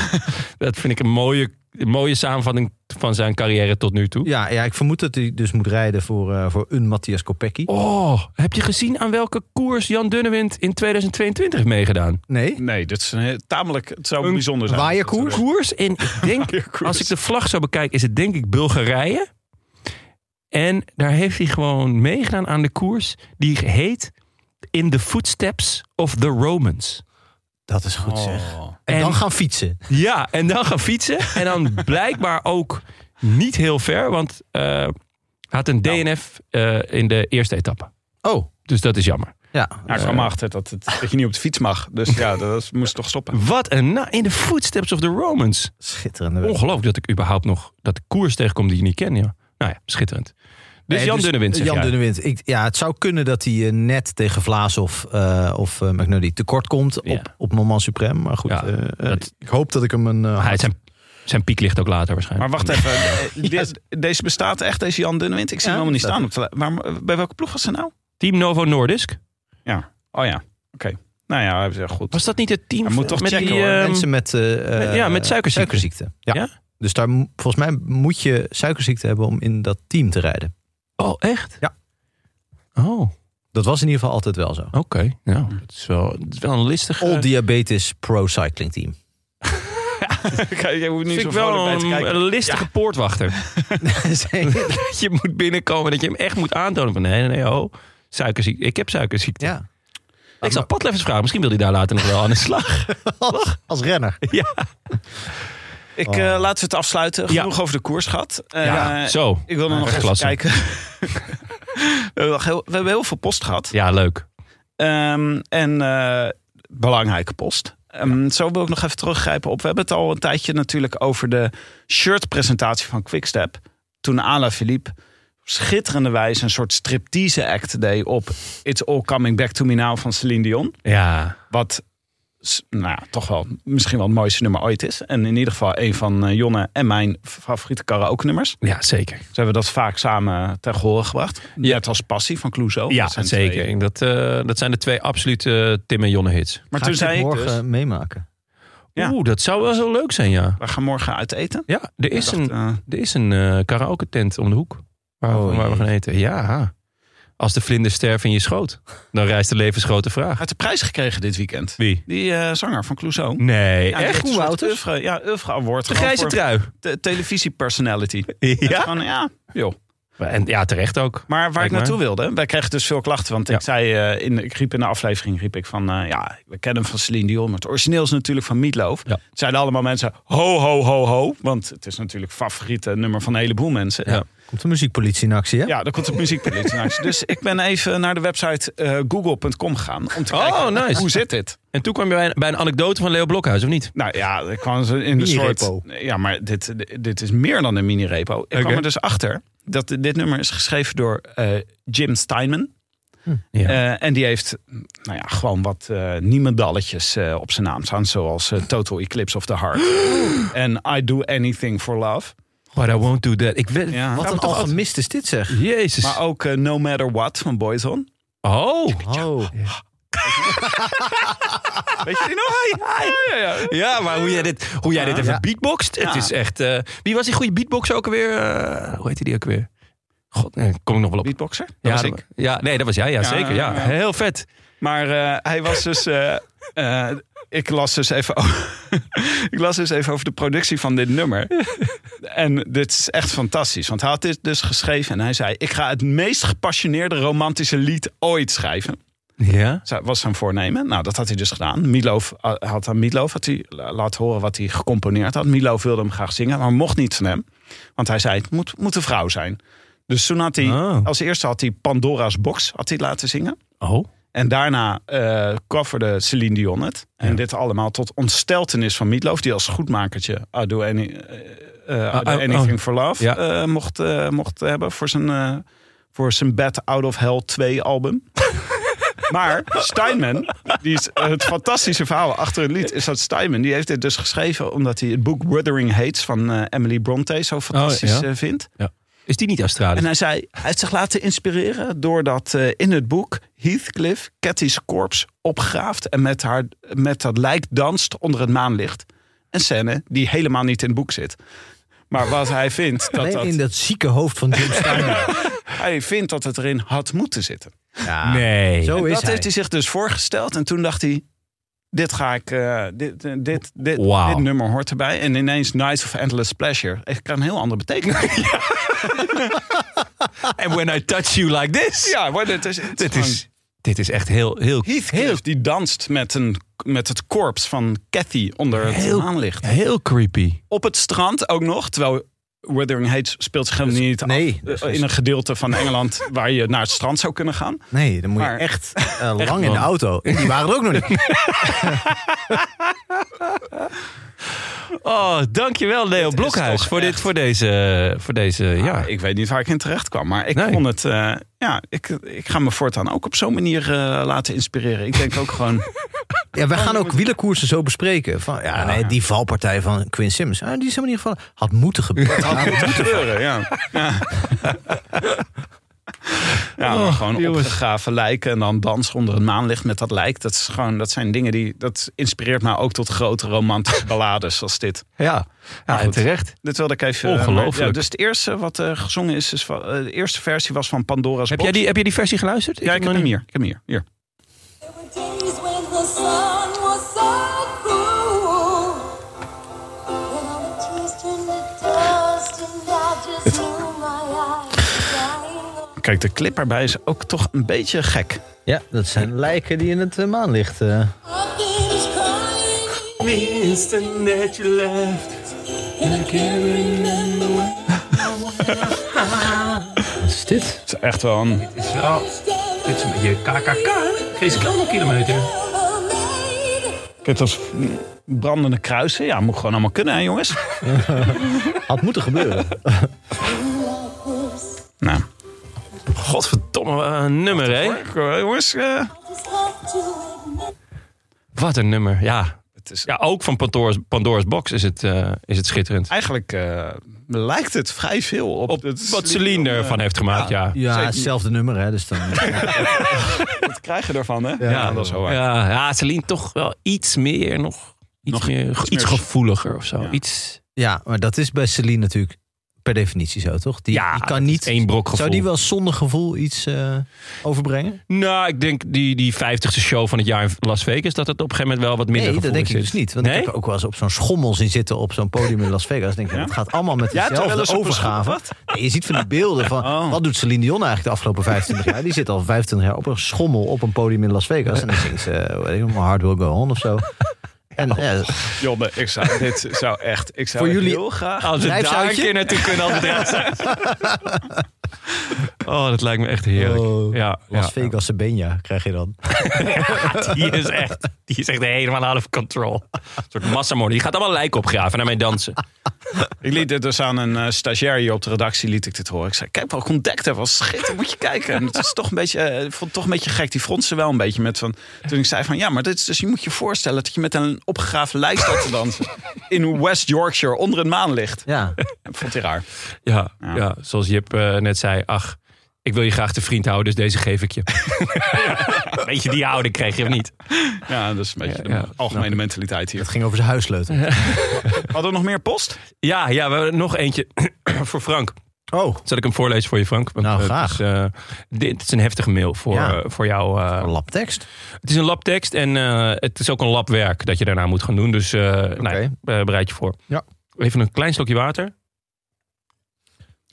dat vind ik een mooie een mooie samenvatting van zijn carrière tot nu toe. [laughs] Ja, ja, ik vermoed dat hij dus moet rijden voor, eh, voor een Matthias Kopecky. Oh, heb je gezien aan welke koers Jan Dunnewind in 2022 heeft meegedaan? Nee? Nee, dat is een heel- tamelijk. Het zou bijzonder zijn. Waaierkoers? Koers en [laughs] ik denk, als ik de vlag zou bekijken, is het denk ik Bulgarije. En daar heeft hij gewoon meegedaan aan de koers die heet In the Footsteps of the Romans. Dat is goed zeg. Oh. En, dan En- gaan fietsen. Ja, en dan gaan fietsen. En [laughs] dan blijkbaar ook niet heel ver, want eh, hij had een DNF eh, in de eerste etappe. Oh, Dus dat is jammer. ja. Nou, ik kwam achter dat, het, dat je niet op de fiets mag. Dus ja, dat was- moest toch stoppen. Wat een na in de footsteps of the Romans. Schitterende weg. Eh. Ongelooflijk dat ik überhaupt nog dat koers tegenkom die je niet kent. Ja. Nou ja, schitterend. Dus Nee, Jan Dunnewind zeg Jan jij. Dunnewind. Ik, ja, het zou kunnen dat hij eh, net tegen Vlaas of, eh, of eh, McNulty tekort komt Ja. op, op Moment Supreme. Maar goed, Ja, eh, eh, dat- ik hoop dat ik hem een... eh, Maar hij, zijn, zijn piek ligt ook later Maar waarschijnlijk. wacht even. eh, dit- deze bestaat echt, deze Jan Dunnewind? Ik zie Ja, hem helemaal niet dat- staan. Op de, li- maar eh, bij welke ploeg was ze nou? Team Novo Nordisk. Oh ja, oké. Nou ja, hij zegt goed. [laughs] Was dat niet het team Hij moet toch met checken, die, hoor. ehm, mensen met, eh, eh, ja, met suikerziekte. Ja. Ja? Dus daar, mo- volgens mij moet je suikerziekte hebben om in dat team te rijden. Oh, echt? Ja. Oh, oké. Dat was in ieder geval altijd wel zo. Eh. Nou, dat is wel, dat is wel een listige... All Diabetes Pro Cycling [laughs] Team. Jij hoeft vind niet zo ik wel vrolijk bij te een, eh, kijken. een listige poortwachter. [laughs] dat je moet binnenkomen, dat je hem echt moet aantonen van... Nee, nee, nee, oh, suikerziekte. Ik heb suikerziekte. ja. Ik zal Patleffers vragen. Misschien wil hij daar later nog wel aan de slag. [laughs] Als, als renner. Ik, eh, laten we het afsluiten. Ja. Genoeg over de koers gehad. Eh, Zo. Ik wil er nog Echt even klasse. kijken. [laughs] we, hebben nog heel, we hebben heel veel post gehad. Ja, leuk. Ehm, en eh, belangrijke post. Ehm, Zo wil ik nog even teruggrijpen op. We hebben het al een tijdje natuurlijk over de shirtpresentatie van Quickstep. Toen Ala Philippe schitterende wijze een soort striptease act deed op It's All Coming Back to Me Now van Celine Dion. Ja. Wat s- nou, toch wel misschien wel het mooiste nummer ooit is. En in ieder geval een van eh, Jonne en mijn favoriete karaoke nummers. Ja, zeker. Ze hebben dat vaak samen ter horen gebracht. Net als Passie van Clouseau. Ja, Dat zijn zeker. twee. En Dat, eh, dat zijn de twee absolute eh, Tim en Jonne hits. Maar Ga toen ik dit zei ik morgen dus, meemaken. Ja. Oeh, dat zou wel heel leuk zijn, ja. we gaan morgen uit eten. Ja, er is Ik dacht, een, eh, er is een eh, karaoke tent om de hoek. Waar, Oh, we- waar we gaan eten. Ja. Als de vlinders sterven in je schoot, dan rijst de levensgrote vraag. uit de prijs gekregen dit weekend. Wie? Die eh, zanger van Clouseau. Nee, Ja, die heeft echt? een soort Wouters? oeuvre- Ja, oeuvre award. De gewoon grijze voor trui. te- televisiepersonality. [laughs] Ja? Ja? Van, ja, joh. En ja, terecht ook. Maar waar Kijk ik naartoe wilde, wij kregen dus veel klachten. Want Ja. ik zei, eh, in, ik riep in de aflevering, riep ik van, eh, ja, we kennen hem van Celine Dion. Maar het origineel is natuurlijk van Meatloaf. Ja. Het Zeiden allemaal mensen, ho, ho, ho, ho. Want het is natuurlijk favoriete nummer van een heleboel mensen. Ja. Komt de muziekpolitie in actie, hè? Ja, dan komt de muziekpolitie langs. Dus ik ben even naar de website eh, google.com gegaan om te Oh, kijken eh, nice. hoe zit dit. En toen kwam je bij een, bij een anekdote van Leo Blokhuis, of niet? Nou ja, ik kwam ze in een soort... Mini-repo. Ja, maar dit, dit is meer dan een mini-repo. Ik kwam Oké. er dus achter dat dit nummer is geschreven door eh, Jim Steinman. Ja. Eh, en die heeft nou ja, gewoon wat eh niemendalletjes eh, op zijn naam staan. Zoals eh, Total Eclipse of the Heart. Oh. En I Do Anything for Love. But I won't do that. Ik weet, Ja. Wat een algemist is dit, zeg. Jezus. Maar ook eh, No Matter What van Boyzone. oh. Oh. Weet je [laughs] die nog? Ja, ja, ja. Ja, maar hoe jij dit, hoe jij dit even Ja. beatboxt, het Ja. is echt... eh, wie was die goede beatboxer ook alweer? Eh, hoe heette die ook weer? God, nee, kom ik nog wel op. Beatboxer? Dat ja, was dat ik. wa- ja, nee, dat was jij. Ja, Ja, zeker. Ja. ja. Heel vet. Maar eh, hij was dus. eh, eh, ik las dus even. o- [laughs] ik las dus even over de productie van dit nummer. en dit is echt fantastisch. Want hij had dit dus geschreven en hij zei: Ik ga het meest gepassioneerde romantische lied ooit schrijven. Ja? Zo- Was zijn voornemen. Nou, dat had hij dus gedaan. Miloof eh, had aan Miloof had hij la- laten horen wat hij gecomponeerd had. Miloof wilde hem graag zingen, maar mocht niet van hem. Want hij zei: Het moet, moet een vrouw zijn. Dus toen had hij. Oh. Als eerste had hij Pandora's Box had hij laten zingen. Oh. En daarna eh coverde Celine Dion het. En Ja. dit allemaal tot ontsteltenis van Meatloaf... die als goedmakertje I Do, Any- eh, eh, I Do Ah, ah, Anything for Love Ja. eh, mocht, eh, mocht hebben... voor zijn, eh, voor zijn Bad Out of Hell 2 album. [laughs] maar Steinman, die is, eh, het fantastische verhaal achter het lied... is dat Steinman, die heeft dit dus geschreven... omdat hij het boek Wuthering Heights van eh, Emily Bronte zo fantastisch Oh, ja. eh, vindt. Is die niet Australisch? Dus- En hij zei, hij heeft zich laten inspireren doordat eh, in het boek Heathcliff Cathy's korps opgraaft en met, haar, met dat lijk danst onder het maanlicht. Een scène die helemaal niet in het boek zit. Maar wat hij [laughs] vindt, dat Alleen dat, in dat zieke hoofd van [laughs] Jim Steiner. hij vindt dat het erin had moeten zitten. Ja, Nee. Zo En is dat hij. heeft hij zich dus voorgesteld. En toen dacht hij, dit ga ik, eh, dit, eh, dit, dit, Wauw. dit nummer hoort erbij. En ineens Nights of Endless Pleasure. Ik kan een heel andere betekenis. And when I touch you like this. ja, maar dit is, het Dit is, dit is echt heel, heel, heel, Heathcliff die danst met, een, met het korps van Cathy onder het Heel- maanlicht. heel creepy. Op het strand ook nog, terwijl Wuthering Heights speelt zich Dus helemaal niet af. nee, dat Eh, in een gedeelte van Engeland [laughs] waar je naar het strand zou kunnen gaan. Nee, dan moet Maar- je echt, eh, lang in de auto. En Die waren er ook nog niet. [laughs] Oh, dankjewel Leo is Blokhuis toch voor, dit, echt- voor deze, voor deze ja. Ah, ik weet niet waar ik in terecht kwam, maar ik Nee. vond het. eh, ja, ik, ik ga me voortaan ook op zo'n manier eh, laten inspireren. Ik denk ook gewoon. Ja, wij gaan ook wielerkoersen zo bespreken. Van, ja, nee, die valpartij van Quinn Sims. Ah, die is helemaal niet gevallen. Had moeten gebeuren. Het had moeten gebeuren, ja. [laughs] Ja, ja maar gewoon opgegraven lijken en dan dansen onder het maanlicht met dat lijk. Dat, is gewoon, dat zijn dingen die... Dat inspireert mij ook tot grote romantische ballades als dit. Ja. ja, en goed. terecht. Dit wilde ik even... Ongelooflijk. Ja, dus het eerste wat eh, gezongen is, is van, eh, de eerste versie was van Pandora's Heb Box. jij, die, heb jij die versie geluisterd? Ja, ik heb nog hem niet. hier. Ik heb hem hier. hier. There were days when the sun was so cruel. When all the tears turned to dust and I just knew my eyes were dying. Kijk, de clip erbij is ook toch een beetje gek. Ja, dat zijn lijken die in het eh, maanlicht... eh, I finished crying. And I can't remember when wat is dit? Het is echt wel een... Dit is een beetje KKK. Geen kilometer. Kijk, dat is brandende kruisen. Ja, moet gewoon allemaal kunnen, hè, jongens? Had moeten gebeuren. Nou, Godverdomme, wat een nummer hè? hoor, jongens... eh, Wat een nummer, ja. het is Ja, ook van Pandora's, Pandora's Box is het, eh, is het schitterend. Eigenlijk eh, lijkt het vrij veel op, Op het wat Celine eh, ervan heeft gemaakt, ja. Ja, Ja, Zeker. hetzelfde nummer, [laughs] hè. Dus dan, Wat krijg je ervan, hè? Ja, dat is wel waar. ja, Celine toch wel iets meer nog. Iets, Nog meer, iets iets meer- gevoeliger of zo. Ja. Iets, ja, maar dat is bij Celine natuurlijk per definitie zo, toch? Die, ja, die kan niet... één brok gevoel. Zou die wel zonder gevoel iets eh, overbrengen? Nou, ik denk die, die 50ste show van het jaar in Las Vegas... dat het op een gegeven moment wel wat minder nee, dat gevoelig denk ik zit. dus niet. Want Nee? ik heb er ook wel eens op zo'n schommel zien zitten op zo'n podium in Las Vegas. Denk ik, Het gaat allemaal met Ja, toch wel dezelfde eens op een overgave. Nee, je ziet van die beelden van Oh. wat doet Celine Dion eigenlijk de afgelopen 25 jaar? Die zit al 25 jaar op een schommel op een podium in Las Vegas. En dan zingt ze eh, weet ik nog, Hard Will Go On of zo. En ja, Jonne, ik [laughs] zou, dit zou echt... Ik zou Voor echt jullie- heel graag... Als we daar een Drijfzoutje? keer naartoe [laughs] kunnen, als het eruit zijn. Oh, dat lijkt me echt heerlijk. Oh, ja, Las ja. Vegas Benja krijg je dan. Die is echt, die is echt helemaal out of control. Een soort massamoord. Die gaat allemaal lijken opgraven en daarmee dansen. [laughs] Ik liet dit dus aan een eh, stagiair hier op de redactie liet ik dit horen. Ik zei, kijk wat ik ontdekt heb. Wat schitterend, moet je kijken. En het is toch een beetje, eh, ik vond het toch een beetje gek. Die fronsen wel een beetje met van... Toen ik zei van, ja, maar dit is dus... Je moet je voorstellen dat je met een opgegraven lijk staat te dansen. In West Yorkshire, onder het maanlicht. Ja, Ik vond het raar. Ja, ja. Ja. zoals Jip eh, net zei. Ach, ik wil je graag te vriend houden, dus deze geef ik je. [laughs] Weet je, die houding kreeg je of niet? Ja, dat is een Ja, beetje de ja, algemene mentaliteit hier. het ging over zijn huissleutel. [laughs] Hadden we nog meer post? Ja, ja, we hebben nog eentje [clears throat] voor Frank. Oh, Zal ik hem voorlezen voor je, Frank? Want, Nou, eh, graag. Het is, eh, dit is een heftige mail voor, Ja. eh, voor jou. eh, een labtekst. Het is een labtekst en eh, het is ook een labwerk dat je daarna moet gaan doen. Dus eh, nou, ja, eh, bereid je voor. Ja. Even een klein slokje water.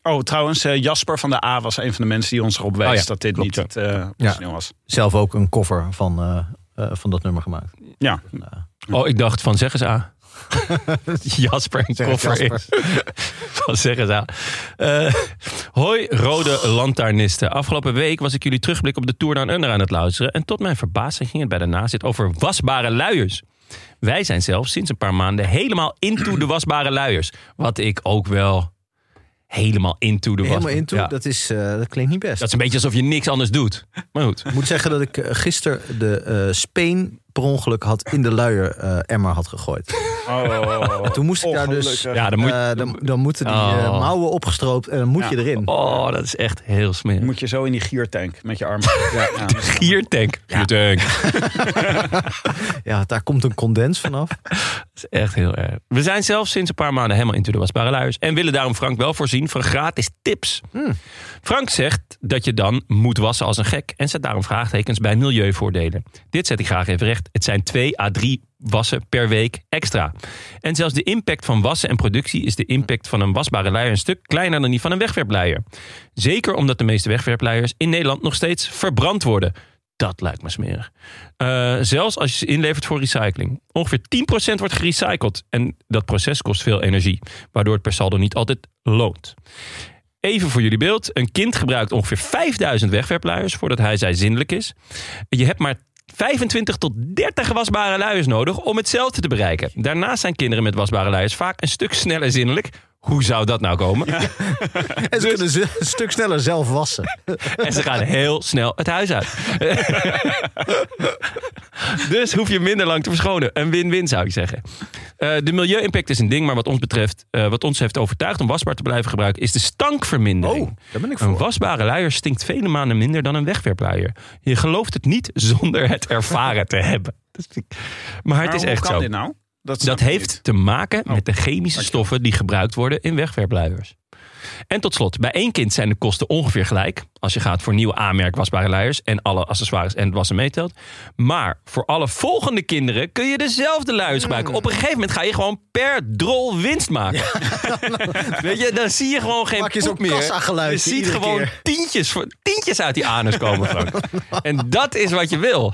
Oh, trouwens, eh, Jasper van de A was een van de mensen die ons erop wijst Oh ja, dat dit klopt, niet het eh, Ja. origineel was. Zelf ook een cover van, eh, eh, van dat nummer gemaakt. Ja, Oh, ik dacht van zeg eens A. [laughs] Jasper een Zeg eens koffer Jasper. is. van zeg eens A. Eh, hoi rode lantaarnisten. Afgelopen week was ik jullie terugblik op de Tour Down Under aan het luisteren. En tot mijn verbazing ging het bij de nazit over wasbare luiers. Wij zijn zelfs sinds een paar maanden helemaal into de wasbare luiers. Wat ik ook wel helemaal into de Helemaal was- into, Ja. dat, is, eh, dat klinkt niet best. Dat is een beetje alsof je niks anders doet. Maar goed. Ik moet zeggen dat ik eh, gisteren de eh Spain per ongeluk had in de luier eh, emmer had gegooid. Oh, Toen moest ik daar dus... ongelukkig. Ja, dan moet je- eh, dan, dan moeten die eh, Oh. mouwen opgestroopt en dan moet je Ja. erin. Oh, dat is echt heel smerig. Moet je zo in die giertank met je armen. Ja, nou, ja, dat is- Giertank. Giertank. Ja, daar komt een condens [laughs] vanaf. Dat is echt heel erg. We zijn zelfs sinds een paar maanden helemaal into de wasbare luis. En willen daarom Frank wel voorzien van gratis tips. Frank zegt dat je dan moet wassen als een gek. En zet daarom vraagtekens bij milieuvoordelen. Dit zet ik graag even recht. Het zijn 2 à 3 wassen per week extra. En zelfs de impact van wassen en productie is de impact van een wasbare luier een stuk kleiner dan die van een wegwerpluier. Zeker omdat de meeste wegwerpluiers in Nederland nog steeds verbrand worden. Dat lijkt me smerig. Eh, zelfs als je ze inlevert voor recycling. Ongeveer 10% wordt gerecycled. En dat proces kost veel energie. Waardoor het per saldo niet altijd loont. Even voor jullie beeld. Een kind gebruikt ongeveer 5000 wegwerpluiers voordat hij zij zinnelijk is. Je hebt maar 25 tot 30 wasbare luiers nodig om hetzelfde te bereiken. Daarnaast zijn kinderen met wasbare luiers vaak een stuk sneller zinnelijk. Hoe zou dat nou komen? En ze kunnen ze een stuk sneller zelf wassen. En ze gaan heel snel het huis uit. [laughs] dus hoef je minder lang te verschonen. Een win-win zou ik zeggen. Eh, de milieu-impact is een ding, maar wat ons betreft, eh, wat ons heeft overtuigd om wasbaar te blijven gebruiken, is de stankvermindering. daar ben ik Een wasbare luier stinkt vele maanden minder dan een wegwerpluier. Je gelooft het niet zonder het ervaren te hebben. Dat vind ik- Maar het Maar is hoe echt kan zo. dit nou? Dat, snap Dat ik heeft niet. te maken Oh, met de chemische oké. stoffen die gebruikt worden in wegwerpluiers. En tot slot, bij één kind zijn de kosten ongeveer gelijk. Als je gaat voor nieuwe aanmerk wasbare luiers en alle accessoires en het wassen meetelt. Maar voor alle volgende kinderen kun je dezelfde luiers gebruiken. Op een gegeven moment ga je gewoon per drol winst maken. [laughs] Weet je, dan zie je gewoon geen Maak je poep zo'n meer. kassageluidje Je ziet iedere gewoon keer. tientjes, voor- tientjes uit die anus komen, Frank. en dat is wat je wil.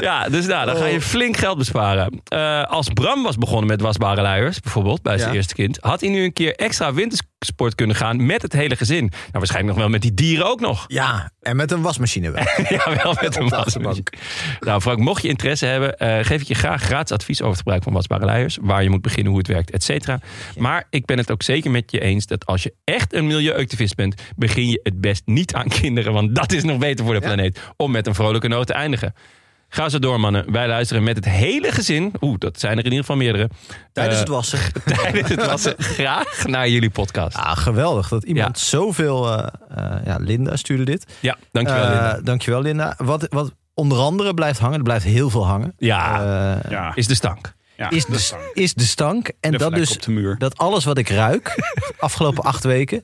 Ja, dus nou, dan ga je flink geld besparen. Eh, als Bram was begonnen met wasbare luiers, bijvoorbeeld bij zijn Ja. eerste kind, had hij nu een keer extra wintersport kunnen gaan met het hele gezin. Nou, waarschijnlijk nog wel met die dieren ook nog. Ja, en met een wasmachine [laughs] wel. [laughs] Ja, wel met een de wasbank. achterbank. Nou, Frank, mocht je interesse hebben, eh, geef ik je graag gratis advies over het gebruik van wasbare luiers. Waar je moet beginnen, hoe het werkt, et cetera. Maar ik ben het ook zeker met je eens dat als je echt een milieuactivist bent, begin je het best niet aan kinderen. Want dat is nog beter voor de planeet. Om met een vrolijke noot te eindigen. Ga zo door, mannen. Wij luisteren met het hele gezin. Oeh, dat zijn er in ieder geval meerdere. Tijdens Eh, het wassen. tijdens het wassen. [laughs] Graag naar jullie podcast. Ah, geweldig dat iemand Ja. zoveel... eh, eh, ja, Linda stuurde dit. Ja, dankjewel. Eh, Linda. Dankjewel, Linda. Wat, wat onder andere blijft hangen, er blijft heel veel hangen. Ja, Eh, Ja, is de stank. ja, is, dat de, kan. is de stank. En De dat vlek dus op de muur. dat alles wat ik ruik, de afgelopen acht weken,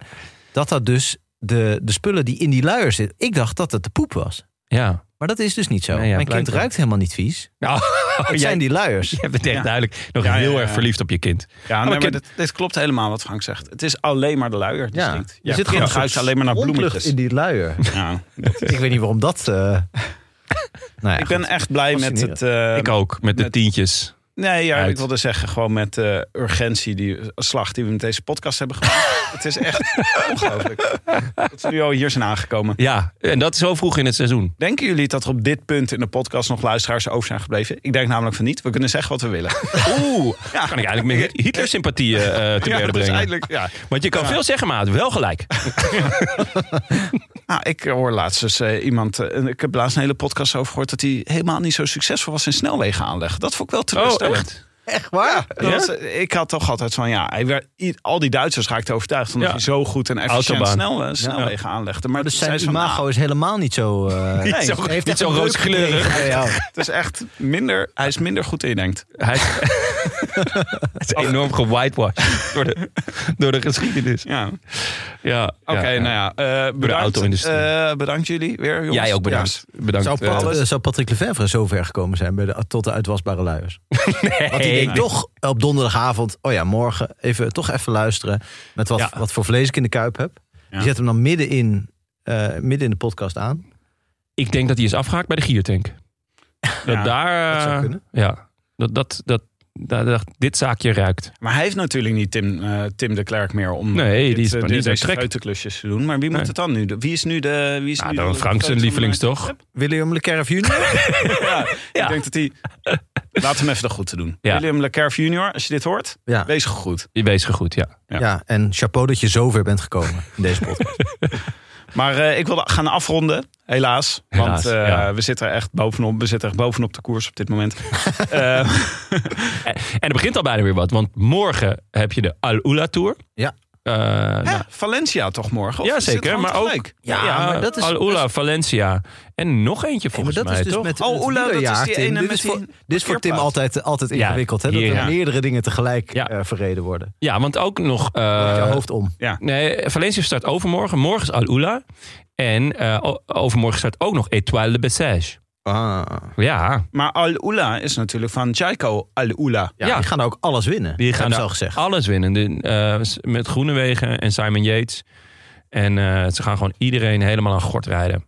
dat dat dus de, de spullen die in die luier zitten. Ik dacht dat het de poep was. Ja. Maar dat is dus niet zo. Nee, ja, Mijn kind blijkbaar. ruikt helemaal niet vies. Nou, Het zijn die [laughs] luiers. Je bent echt Oh, Ja. duidelijk nog Ja, ja, heel ja, erg ja. verliefd op je kind. Ja, nee, maar maar ik- dit, dit klopt helemaal wat Frank zegt. Het is alleen maar de luier die Ja. stinkt. Er zit Ja, zit gewoon gewoon een ruikt alleen maar naar Onlucht bloemetjes. in die luier. [laughs] Ja. ik weet niet waarom dat... eh, nou ja, Ik ben goed. echt blij met Fascinerend. het... eh, ik ook, met de met- tientjes. Nee, ja, Uit. ik wilde zeggen, gewoon met de urgentie, die slag die we met deze podcast hebben gemaakt. het is echt ongelooflijk dat we nu al hier zijn aangekomen. Ja, en dat zo vroeg in het [laughs] seizoen. Denken jullie dat er op dit punt in de podcast nog luisteraars over zijn gebleven? Ik denk namelijk van niet. We kunnen zeggen wat we willen. Oeh, [laughs] Ja. kan ik eigenlijk meer Hitler-sympathieën eh, te Ja, berden dat is brengen. eigenlijk- ja. Want je kan veel zeggen, maar het wel gelijk. Nou, ik hoor laatst dus eh, iemand... eh, een- ik heb laatst een hele podcast over gehoord... dat hij helemaal niet zo succesvol was in snelwegen aanleggen. [laughs] Dat vond ik wel Oh, teleurstellend. Echt waar? Dat was, eh, ik had toch altijd van... ja, hij werd, i- al die Duitsers raakten overtuigd... omdat Ja. hij zo goed en efficiënt Autobahn. snel, eh, snelwegen aanlegde. Maar Dus toen zijn zei ze van, imago nou, is helemaal niet zo... [laughs] eh [laughs] Nee, zo- hij niet heeft echt zo een beup rooskleurig. gekregen bij jou. Het is echt minder... hij is minder goed indenkt. Hij [laughs] is, het is enorm gewhitewashed door de, door de geschiedenis. Ja. Ja, Oké, ja, ja. nou ja. eh, bedankt, auto-industrie. eh, bedankt jullie weer, jongens. Jij ook bedankt. Bedankt. Zou, Pat- eh, eh, zou Patrick Lefevre zo ver gekomen zijn bij de, tot de uitwasbare luiers? Eh, Want die nee. denkt toch op donderdagavond, oh ja, morgen, even, toch even luisteren met wat, Ja. wat voor vlees ik in de kuip heb. Ja. Je zet hem dan midden in, eh, midden in de podcast aan. Ik denk dat hij is afgehaakt bij de giertank. Dat Ja, daar... dat zou eh, kunnen. Ja, dat, dat, dat, dat, dat dit zaakje ruikt. Maar hij heeft natuurlijk niet Tim, eh, Tim de Klerk meer om Nee, die is eh, maar dit- niet aan deze trek. feuteklusjes te doen. Maar wie moet Nee. het dan nu? doen? Wie is nu de... Wie is Nou, nu dan de- Frank zijn de- lievelings, toch? William Le Carre Jr. [laughs] Ja, Ik denk dat hij... Laat hem even de goed te doen. Ja. William LeCarf junior, als je dit hoort, Ja. wees goed. Je wees goed, ja. ja, en chapeau dat je zo ver bent gekomen in deze podcast. Maar eh, ik wilde gaan afronden, helaas. Want Helaas, eh, ja. we zitten er echt bovenop. We zitten echt bovenop de koers op dit moment. Eh, En er begint al bijna weer wat, want morgen heb je de Al-Ula Tour. Ja. Eh, nou, hè, Valencia toch morgen? Of ja, is dit zeker. gewoon Maar ook tegelijk? Ja, maar dat is- Al-Ula, Valencia. En nog eentje Ja, [laughs] maar volgens dat mij, is dus toch? met Oh, het Oela, dat is die wielerjaar, Tim. ene dit, met is voor, die dit is voor Tim parkeerplaats. altijd, eh, altijd Ja, ingewikkeld. hè, dat hier, er ja. meerdere dingen tegelijk Ja. eh, verreden worden. Ja, want ook nog... eh, Met je hoofd om. Nee, Valencia start overmorgen. Morgen is Al-Ula. En eh, o- overmorgen start ook nog Etoile de Bessège. Ja, Maar Al-Ula is natuurlijk van Jaiko Al-Ula. Ja, Ja. Die gaan ook alles winnen. die gaan hebben ze daar al gezegd. alles winnen. De, eh, met Groenewegen en Simon Yates. En eh, ze gaan gewoon iedereen helemaal aan gort rijden.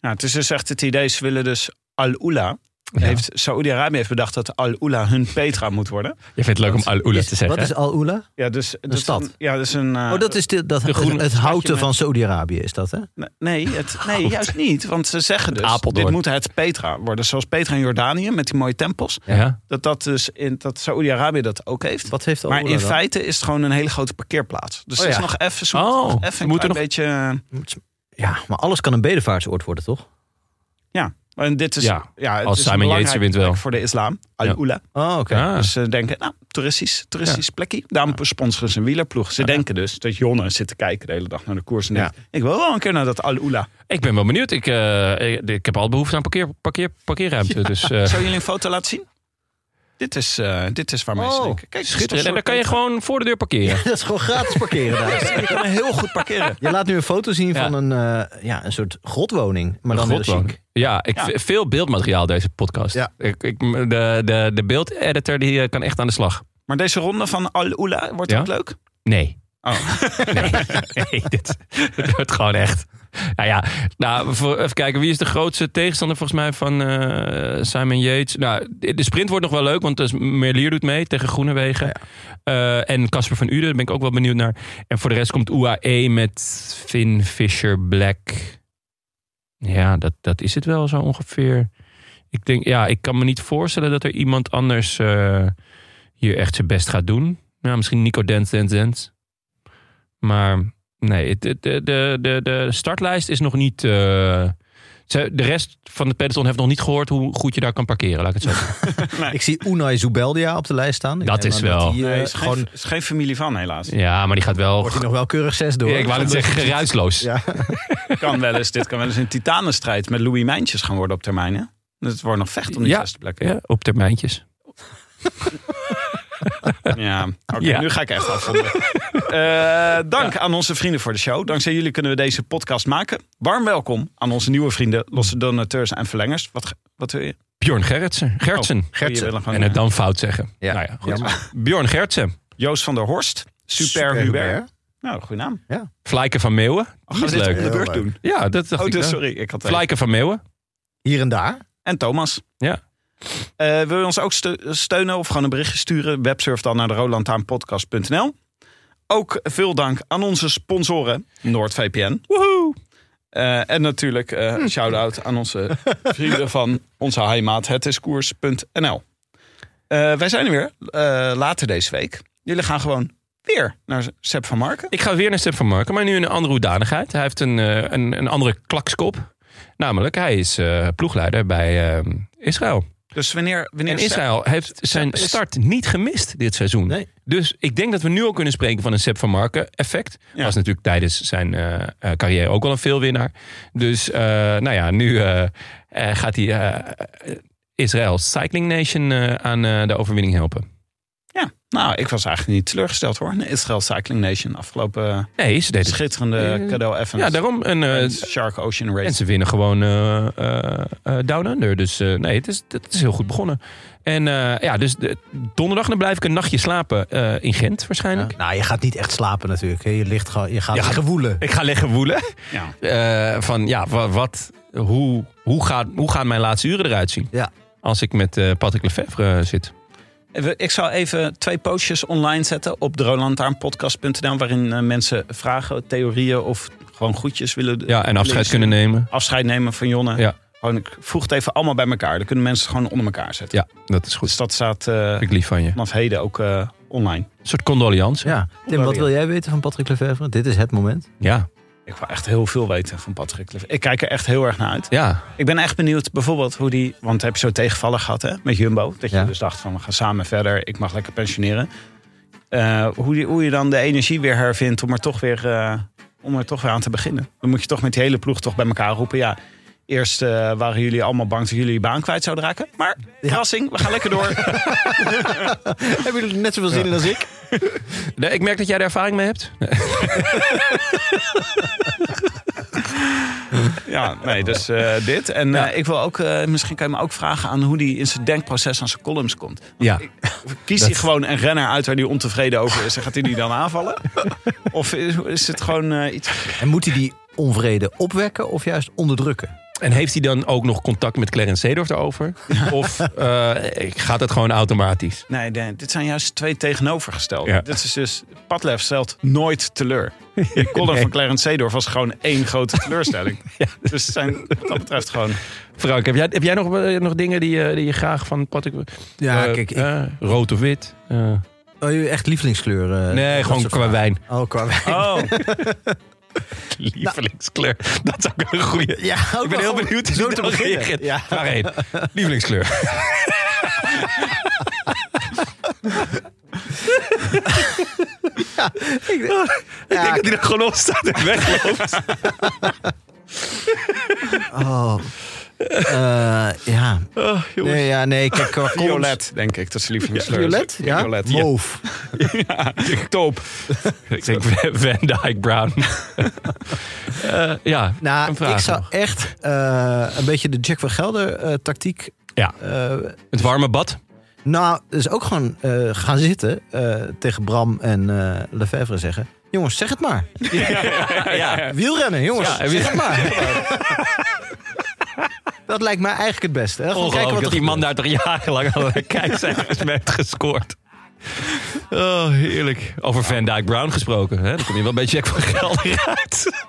Ja, het is dus echt het idee, ze willen dus Al-Ula. Heeft Saoedi-Arabië heeft bedacht dat Al-Ula hun Petra moet worden. Je vindt het leuk om Al-Ula Is- te zeggen. Wat is Al Oela? Ja, dus, dat is stad. een- ja, dat is een... eh, Oh, dat is de, dat, de groene- het houten met- van Saudi-Arabië is dat, hè? Ne- Nee, het, nee juist niet. Want ze zeggen dus, Apeldoorn. dit moet het Petra worden. Zoals Petra in Jordanië met die mooie tempels. hè? ja? Dat, dat, dus in, dat Saoedi-Arabië dat ook heeft. Wat heeft Al maar Oela in dan? feite is het gewoon een hele grote parkeerplaats. Dus Oh het is ja. nog even, ze Oh, moeten nog we even een moeten klein nog- beetje... eh, Ja, maar alles kan een bedevaartsoord worden, toch? Ja, en dit is, ja. Ja, het als is Simon een Yates belangrijke wint wel. Ah. plek voor de islam. Al-Ula. Oh, oké. Ja. Dus ze denken, nou, toeristisch, toeristisch plekje. Daarom sponsoren ze een wielerploeg. Ze denken dus dat Jonne zit te kijken de hele dag naar de koers. En Ja. denkt, ik wil wel een keer naar dat Al-Ula. Ik ben wel benieuwd. Ik, eh, ik- ik heb al behoefte aan parkeer, parkeer, parkeerruimte. Dus, eh, Zou jullie een foto laten zien? Dit is, eh, dit is waar mensen Oh, denken. Kijk, schitterend. En dan kan je gewoon voor de deur parkeren. [laughs] Dat is gewoon gratis parkeren [laughs] daar. Je kan heel goed parkeren. Je laat nu een foto zien Ja. van een, eh, ja, een soort grotwoning. Maar dan Een heel grotwoning. chic. Ja, ik, Ja. veel beeldmateriaal deze podcast. Ja. Ik, ik, de, de, de beeldeditor die eh, kan echt aan de slag. Maar deze ronde van Al-Ula wordt Ja? ook leuk. Nee. Oh. Nee, [laughs] nee dit, dit wordt gewoon echt. Nou ja, nou, voor, even kijken. Wie is de grootste tegenstander volgens mij van eh, Simon Yates? Nou, de de sprint wordt nog wel leuk, want dus Merlier doet mee tegen Groenewegen. Eh, en Casper van Uden, daar ben ik ook wel benieuwd naar. En voor de rest komt UAE met Finn, Fisher, Black. Ja, dat, dat is het wel zo ongeveer. Ik denk, ja, ik kan me niet voorstellen dat er iemand anders eh, hier echt zijn best gaat doen. Nou, misschien Nico Dent, Dent, Dent. Maar nee, het- het- de, de, de, de startlijst is nog niet. eh, ze- de rest van het peloton heeft nog niet gehoord hoe goed je daar kan parkeren, laat ik het zo zeggen. Ik zie Unai Zubeldia op de lijst staan. Ik Dat neem is aan wel- die, eh, Nee, is, gewoon, geen, is geen familie van helaas. Ja, maar die gaat wel. wordt hij nog wel keurig zes door. Ja, ik wou het [laughs] zeggen, geruisloos. Ja. Kan wel eens, dit kan wel eens een titanenstrijd met Louis Mijntjes gaan worden op termijn. Hè? Het wordt nog vecht om die Ja. zesde plek. Ja, op termijntjes. Ja, [laughs] oké, Ja. nu ga ik echt [laughs] afronden. Eh, dank aan onze vrienden voor de show. Dankzij jullie kunnen we deze podcast maken. Warm welkom aan onze nieuwe vrienden, losse donateurs en verlengers. Wat, ge- wat wil je? Bjorn Gerritsen. Gertsen. Gertsen. willen gewoon, En het eh, dan fout zeggen. Ja. Nou ja, goed. Jammer. Bjorn Gertsen. Joost van der Horst, Super, Hubert. Nou, goede naam. Flijken van Meeuwen. Oh, Die gaan is we dit op leuk. de Heel beurt leuk. doen? Ja, dat dacht Oh, ik dus, wel. sorry. Ik had even- Flijken van Meeuwen. Hier en daar. En Thomas. Ja. Eh, wil je ons ook ste- steunen of gewoon een berichtje sturen? Websurf dan naar de rolandtaanpodcast.nl. Ook veel dank aan onze sponsoren, NoordVPN. Woehoe. Hmm. Eh, en natuurlijk eh, een shout-out aan onze vrienden van onze heimaat, hetiskoers.nl. Eh wij zijn er weer eh, later deze week. Jullie gaan gewoon weer naar Seb van Marken. Ik ga weer naar Step van Marken, maar nu in een andere hoedanigheid. Hij heeft een, eh, een, een andere klakskop. Namelijk, hij is eh, ploegleider bij eh, Israël. Dus wanneer, wanneer En Israël heeft zijn is- start niet gemist dit seizoen. Nee. Dus ik denk dat we nu al kunnen spreken van een Sepp van Marken effect. Ja. Was natuurlijk tijdens zijn eh, eh, carrière ook al een veelwinnaar. Dus eh, nou ja, nu eh, eh, gaat hij eh, Israël Cycling Nation eh, aan eh, de overwinning helpen. Ja, nou, ik was eigenlijk niet teleurgesteld hoor. Nee, Israël Cycling Nation afgelopen eh, Nee, ze deden het. schitterende Eh, cadeau Evans. Ja, daarom. Een, eh, en Shark Ocean en Race. ze winnen gewoon eh, eh, eh, Down Under. Dus eh, nee, het is, het is heel goed begonnen. En eh, ja, dus de- donderdag dan blijf ik een nachtje slapen eh, in Gent waarschijnlijk. Nou, je gaat niet echt slapen natuurlijk. hè. Je, ligt gewoon, je gaat Ja. liggen woelen. Ik ga leggen woelen. Ja. Eh, van ja, wa- wat, hoe, hoe, gaat, hoe gaan mijn laatste uren eruit zien? Ja. Als ik met eh Patrick Lefevre zit. We- Ik zou even twee postjes online zetten op derolantaarnpodcast.nl... waarin eh, mensen vragen, theorieën of gewoon goedjes willen... Ja, en afscheid lezen. kunnen nemen. afscheid nemen van Jonne. Ja. Gewoon, ik voeg het even allemaal bij elkaar. Dan kunnen mensen het gewoon onder elkaar zetten. Ja, dat is goed. Dus dat staat eh, Vind ik lief van je. Een vanaf heden ook eh, online. soort condolence. Ja. Tim, wat wil jij weten van Patrick Lefevre? Dit is het moment. Ja. Ik wil echt heel veel weten van Patrick Kluivert. Ik kijk er echt heel erg naar uit. Ja, Ik ben echt benieuwd bijvoorbeeld hoe die... Want heb je zo tegenvallen gehad hè, met Jumbo. Dat je Ja. dus dacht van we gaan samen verder. Ik mag lekker pensioneren. Eh, hoe, die, hoe je dan de energie weer hervindt om er, toch weer, eh, om er toch weer aan te beginnen. Dan moet je toch met die hele ploeg toch bij elkaar roepen. Ja, eerst eh, waren jullie allemaal bang dat jullie je baan kwijt zouden raken. Maar verrassing, we gaan lekker door. Hebben jullie er net zoveel zin in als ik? Nee, ik merk dat jij er ervaring mee hebt. ja, nee, dus eh, dit. En eh, ik wil ook, eh, misschien kan je me ook vragen aan hoe die in zijn denkproces aan zijn columns komt. Ja. Kiest hij gewoon een renner uit waar hij ontevreden over is en gaat hij die dan [laughs] aanvallen? Of is, is het gewoon eh, iets... En moet hij die onvrede opwekken of juist onderdrukken? En heeft hij dan ook nog contact met Clarence Seedorf [laughs] daarover? Of eh, gaat het gewoon automatisch? Nee, nee, dit zijn juist twee tegenovergestelde. Ja. Dit is dus, Padlef stelt nooit teleur. [laughs] Die column van Clarence Seedorf was gewoon één grote teleurstelling. Dus het zijn wat dat betreft gewoon... Frank, heb jij, heb jij nog, eh, nog dingen die, je- die je graag van Patrick... Ja, eh, kijk, ik- eh, rood of wit? Eh, Oh, jullie echt lievelingskleur? eh, nee, dat gewoon soort qua [laughs] vragen. wijn. Oh, qua wijn. Oh, Lievelingskleur. Dat is ook een goede. [laughs] Ja, Ik ben heel benieuwd hoe zo je te dan beginnen. reageert. Ja. Vraag één. Lievelingskleur. Ik denk Ja, dat hij er gewoon op staat en wegloopt. oh. Eh, ja. nee, ja, nee, kijk, qua columns- violet, denk ik. Dat is lievelingskleur. Violet? Ja? Violet, ja. Mauve. Top. ik denk Van Dyke Brown. [laughs] Eh, ja, Nou, een vraag ik zou nog. echt eh, een beetje de Jack van Gelder eh, tactiek... Ja. eh, Het warme bad. nou, dus ook gewoon eh, gaan zitten eh, tegen Bram en eh Lefebvre zeggen... Jongens, zeg het maar. [laughs] ja. Wielrennen, jongens. Eh, Ja, en wie- zeg het [laughs] maar. dat lijkt mij eigenlijk het beste. Hè? Gewoon kijken Ongelooflijk wat dat er die man gebeurt. daar toch jarenlang al [laughs] kijkcijfers mee heeft gescoord. Oh, heerlijk. Over Van Dyke Brown gesproken. Hè? Dan kom je wel bij Jack van Gelder uit.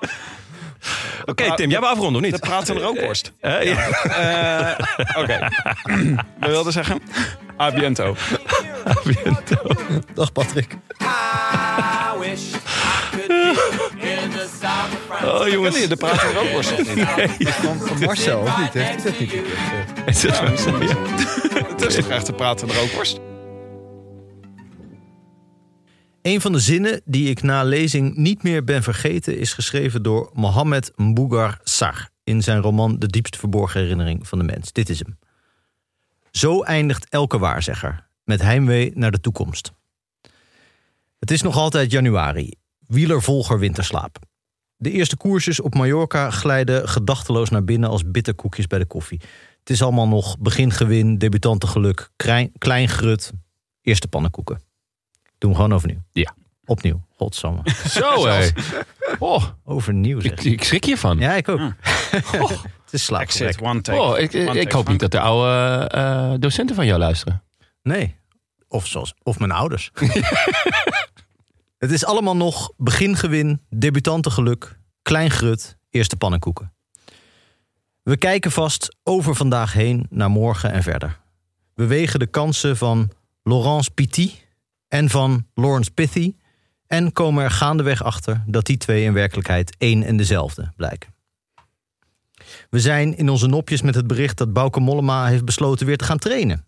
Oké, Tim, jij wil afronden of Dat niet? praat er ook worst. Eh, ja. Eh, Oké. We wilden [laughs] zeggen... Ah, Abiento. Dag Patrick. Oh, jongens. De praat er ook worst. Van, van Marcel, of niet? Heeft hij dat niet? Het [laughs] is wel zo, ja. Dus dan krijgt de praten er ook worst. Een van de zinnen die ik na lezing niet meer ben vergeten... is geschreven door Mohammed Mbougar Sar... in zijn roman De diepst verborgen herinnering van de mens. Dit is hem. Zo eindigt elke waarzegger, met heimwee naar de toekomst. Het is nog altijd januari, wielervolger winterslaap. De eerste koersjes op Mallorca glijden gedachteloos naar binnen... als bitterkoekjes bij de koffie. Het is allemaal nog begingewin, debutantengeluk, klein, klein grut... eerste pannenkoeken. Doen we gewoon overnieuw. Ja. Opnieuw, godsamme. Zo, hé. Oh, Overnieuw zeg. ik, ik schrik hiervan. Ja, ik ook. Oh. [laughs] Het is Exit, slaapgebrek. one take. Oh, ik, ik, One ik take, hoop niet dat de oude eh, docenten van jou luisteren. Nee. Of, zoals, of mijn ouders. [laughs] het is allemaal nog begingewin, debutantengeluk, klein grut, eerste pannenkoeken. We kijken vast over vandaag heen naar morgen en verder. We wegen de kansen van Laurence Pity en van Lawrence Pithy... en komen er gaandeweg achter dat die twee in werkelijkheid één en dezelfde blijken. We zijn in onze nopjes met het bericht dat Bouke Mollema heeft besloten weer te gaan trainen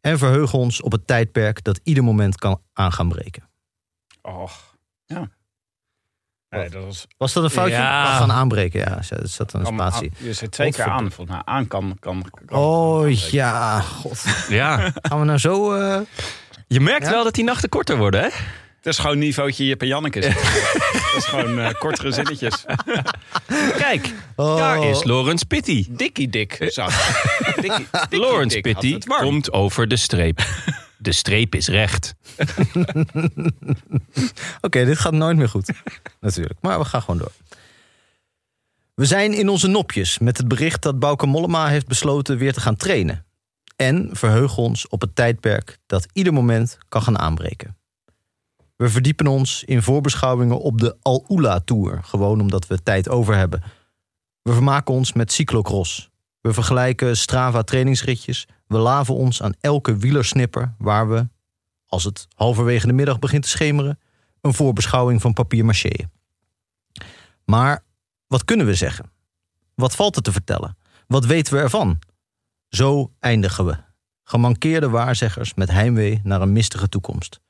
en verheugen ons op het tijdperk dat ieder moment kan aan gaan breken. Och, ja. Nee, dat was Was dat een foutje? Ja. Ah, gaan aanbreken, ja. Er zat een kan spatie. aan- Ah, je zei twee keer Godverdomme. aan. Volgens mij aan kan, kan, kan. Oh ja, god. [laughs] Ja. Gaan we nou zo... eh, Je merkt Ja. wel dat die nachten korter worden, hè? Het is gewoon niveautje Jip en Janneke. dat is gewoon eh, kortere zinnetjes. Kijk, Oh. daar is Lawrence Pitty. Dikkie dik zat. [laughs] Dikkie, Dikkie Lawrence Dik had Pitty het warm. komt over de streep. De streep is recht. Oké, dit gaat nooit meer goed. Natuurlijk, maar we gaan gewoon door. We zijn in onze nopjes met het bericht dat Bouke Mollema heeft besloten weer te gaan trainen. En verheugen ons op het tijdperk dat ieder moment kan gaan aanbreken. We verdiepen ons in voorbeschouwingen op de Al-Ula-tour, gewoon omdat we tijd over hebben. We vermaken ons met cyclocross. We vergelijken Strava trainingsritjes. We laven ons aan elke wielersnipper waar we, als het halverwege de middag begint te schemeren, een voorbeschouwing van papier-maché. Maar wat kunnen we zeggen? Wat valt er te vertellen? Wat weten we ervan? Zo eindigen we. Gemankeerde waarzeggers met heimwee naar een mistige toekomst.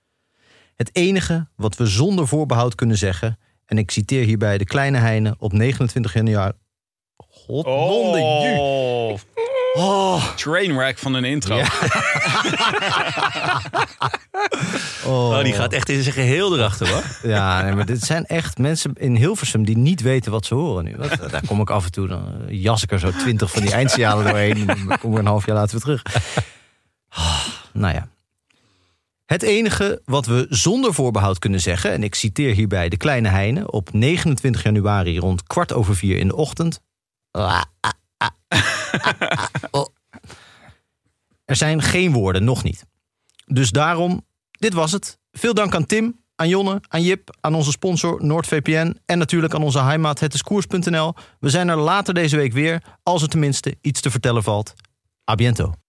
Het enige wat we zonder voorbehoud kunnen zeggen, en ik citeer hierbij de kleine Heine op 29 januari. God, ju. Oh, Oh. trainwreck van een intro. Oh, die gaat echt in zijn geheel erachter, hoor. [laughs] Ja, nee, maar dit zijn echt mensen in Hilversum die niet weten wat ze horen nu. Wat, daar kom ik af en toe, dan eh, jas ik er zo twintig van die eindsignalen doorheen. En dan kom ik een half jaar later weer terug. Ah, nou ja. Het enige wat we zonder voorbehoud kunnen zeggen, en ik citeer hierbij de kleine Heine op 29 januari rond kwart over vier in de ochtend. Ah, ah, ah, ah, ah, oh. Er zijn geen woorden, nog niet. Dus daarom dit was het. Veel dank aan Tim, aan Jonne, aan Jip, aan onze sponsor NoordVPN en natuurlijk aan onze heimaat hetiskoers.nl. We zijn er later deze week weer, als er tenminste iets te vertellen valt. A biento.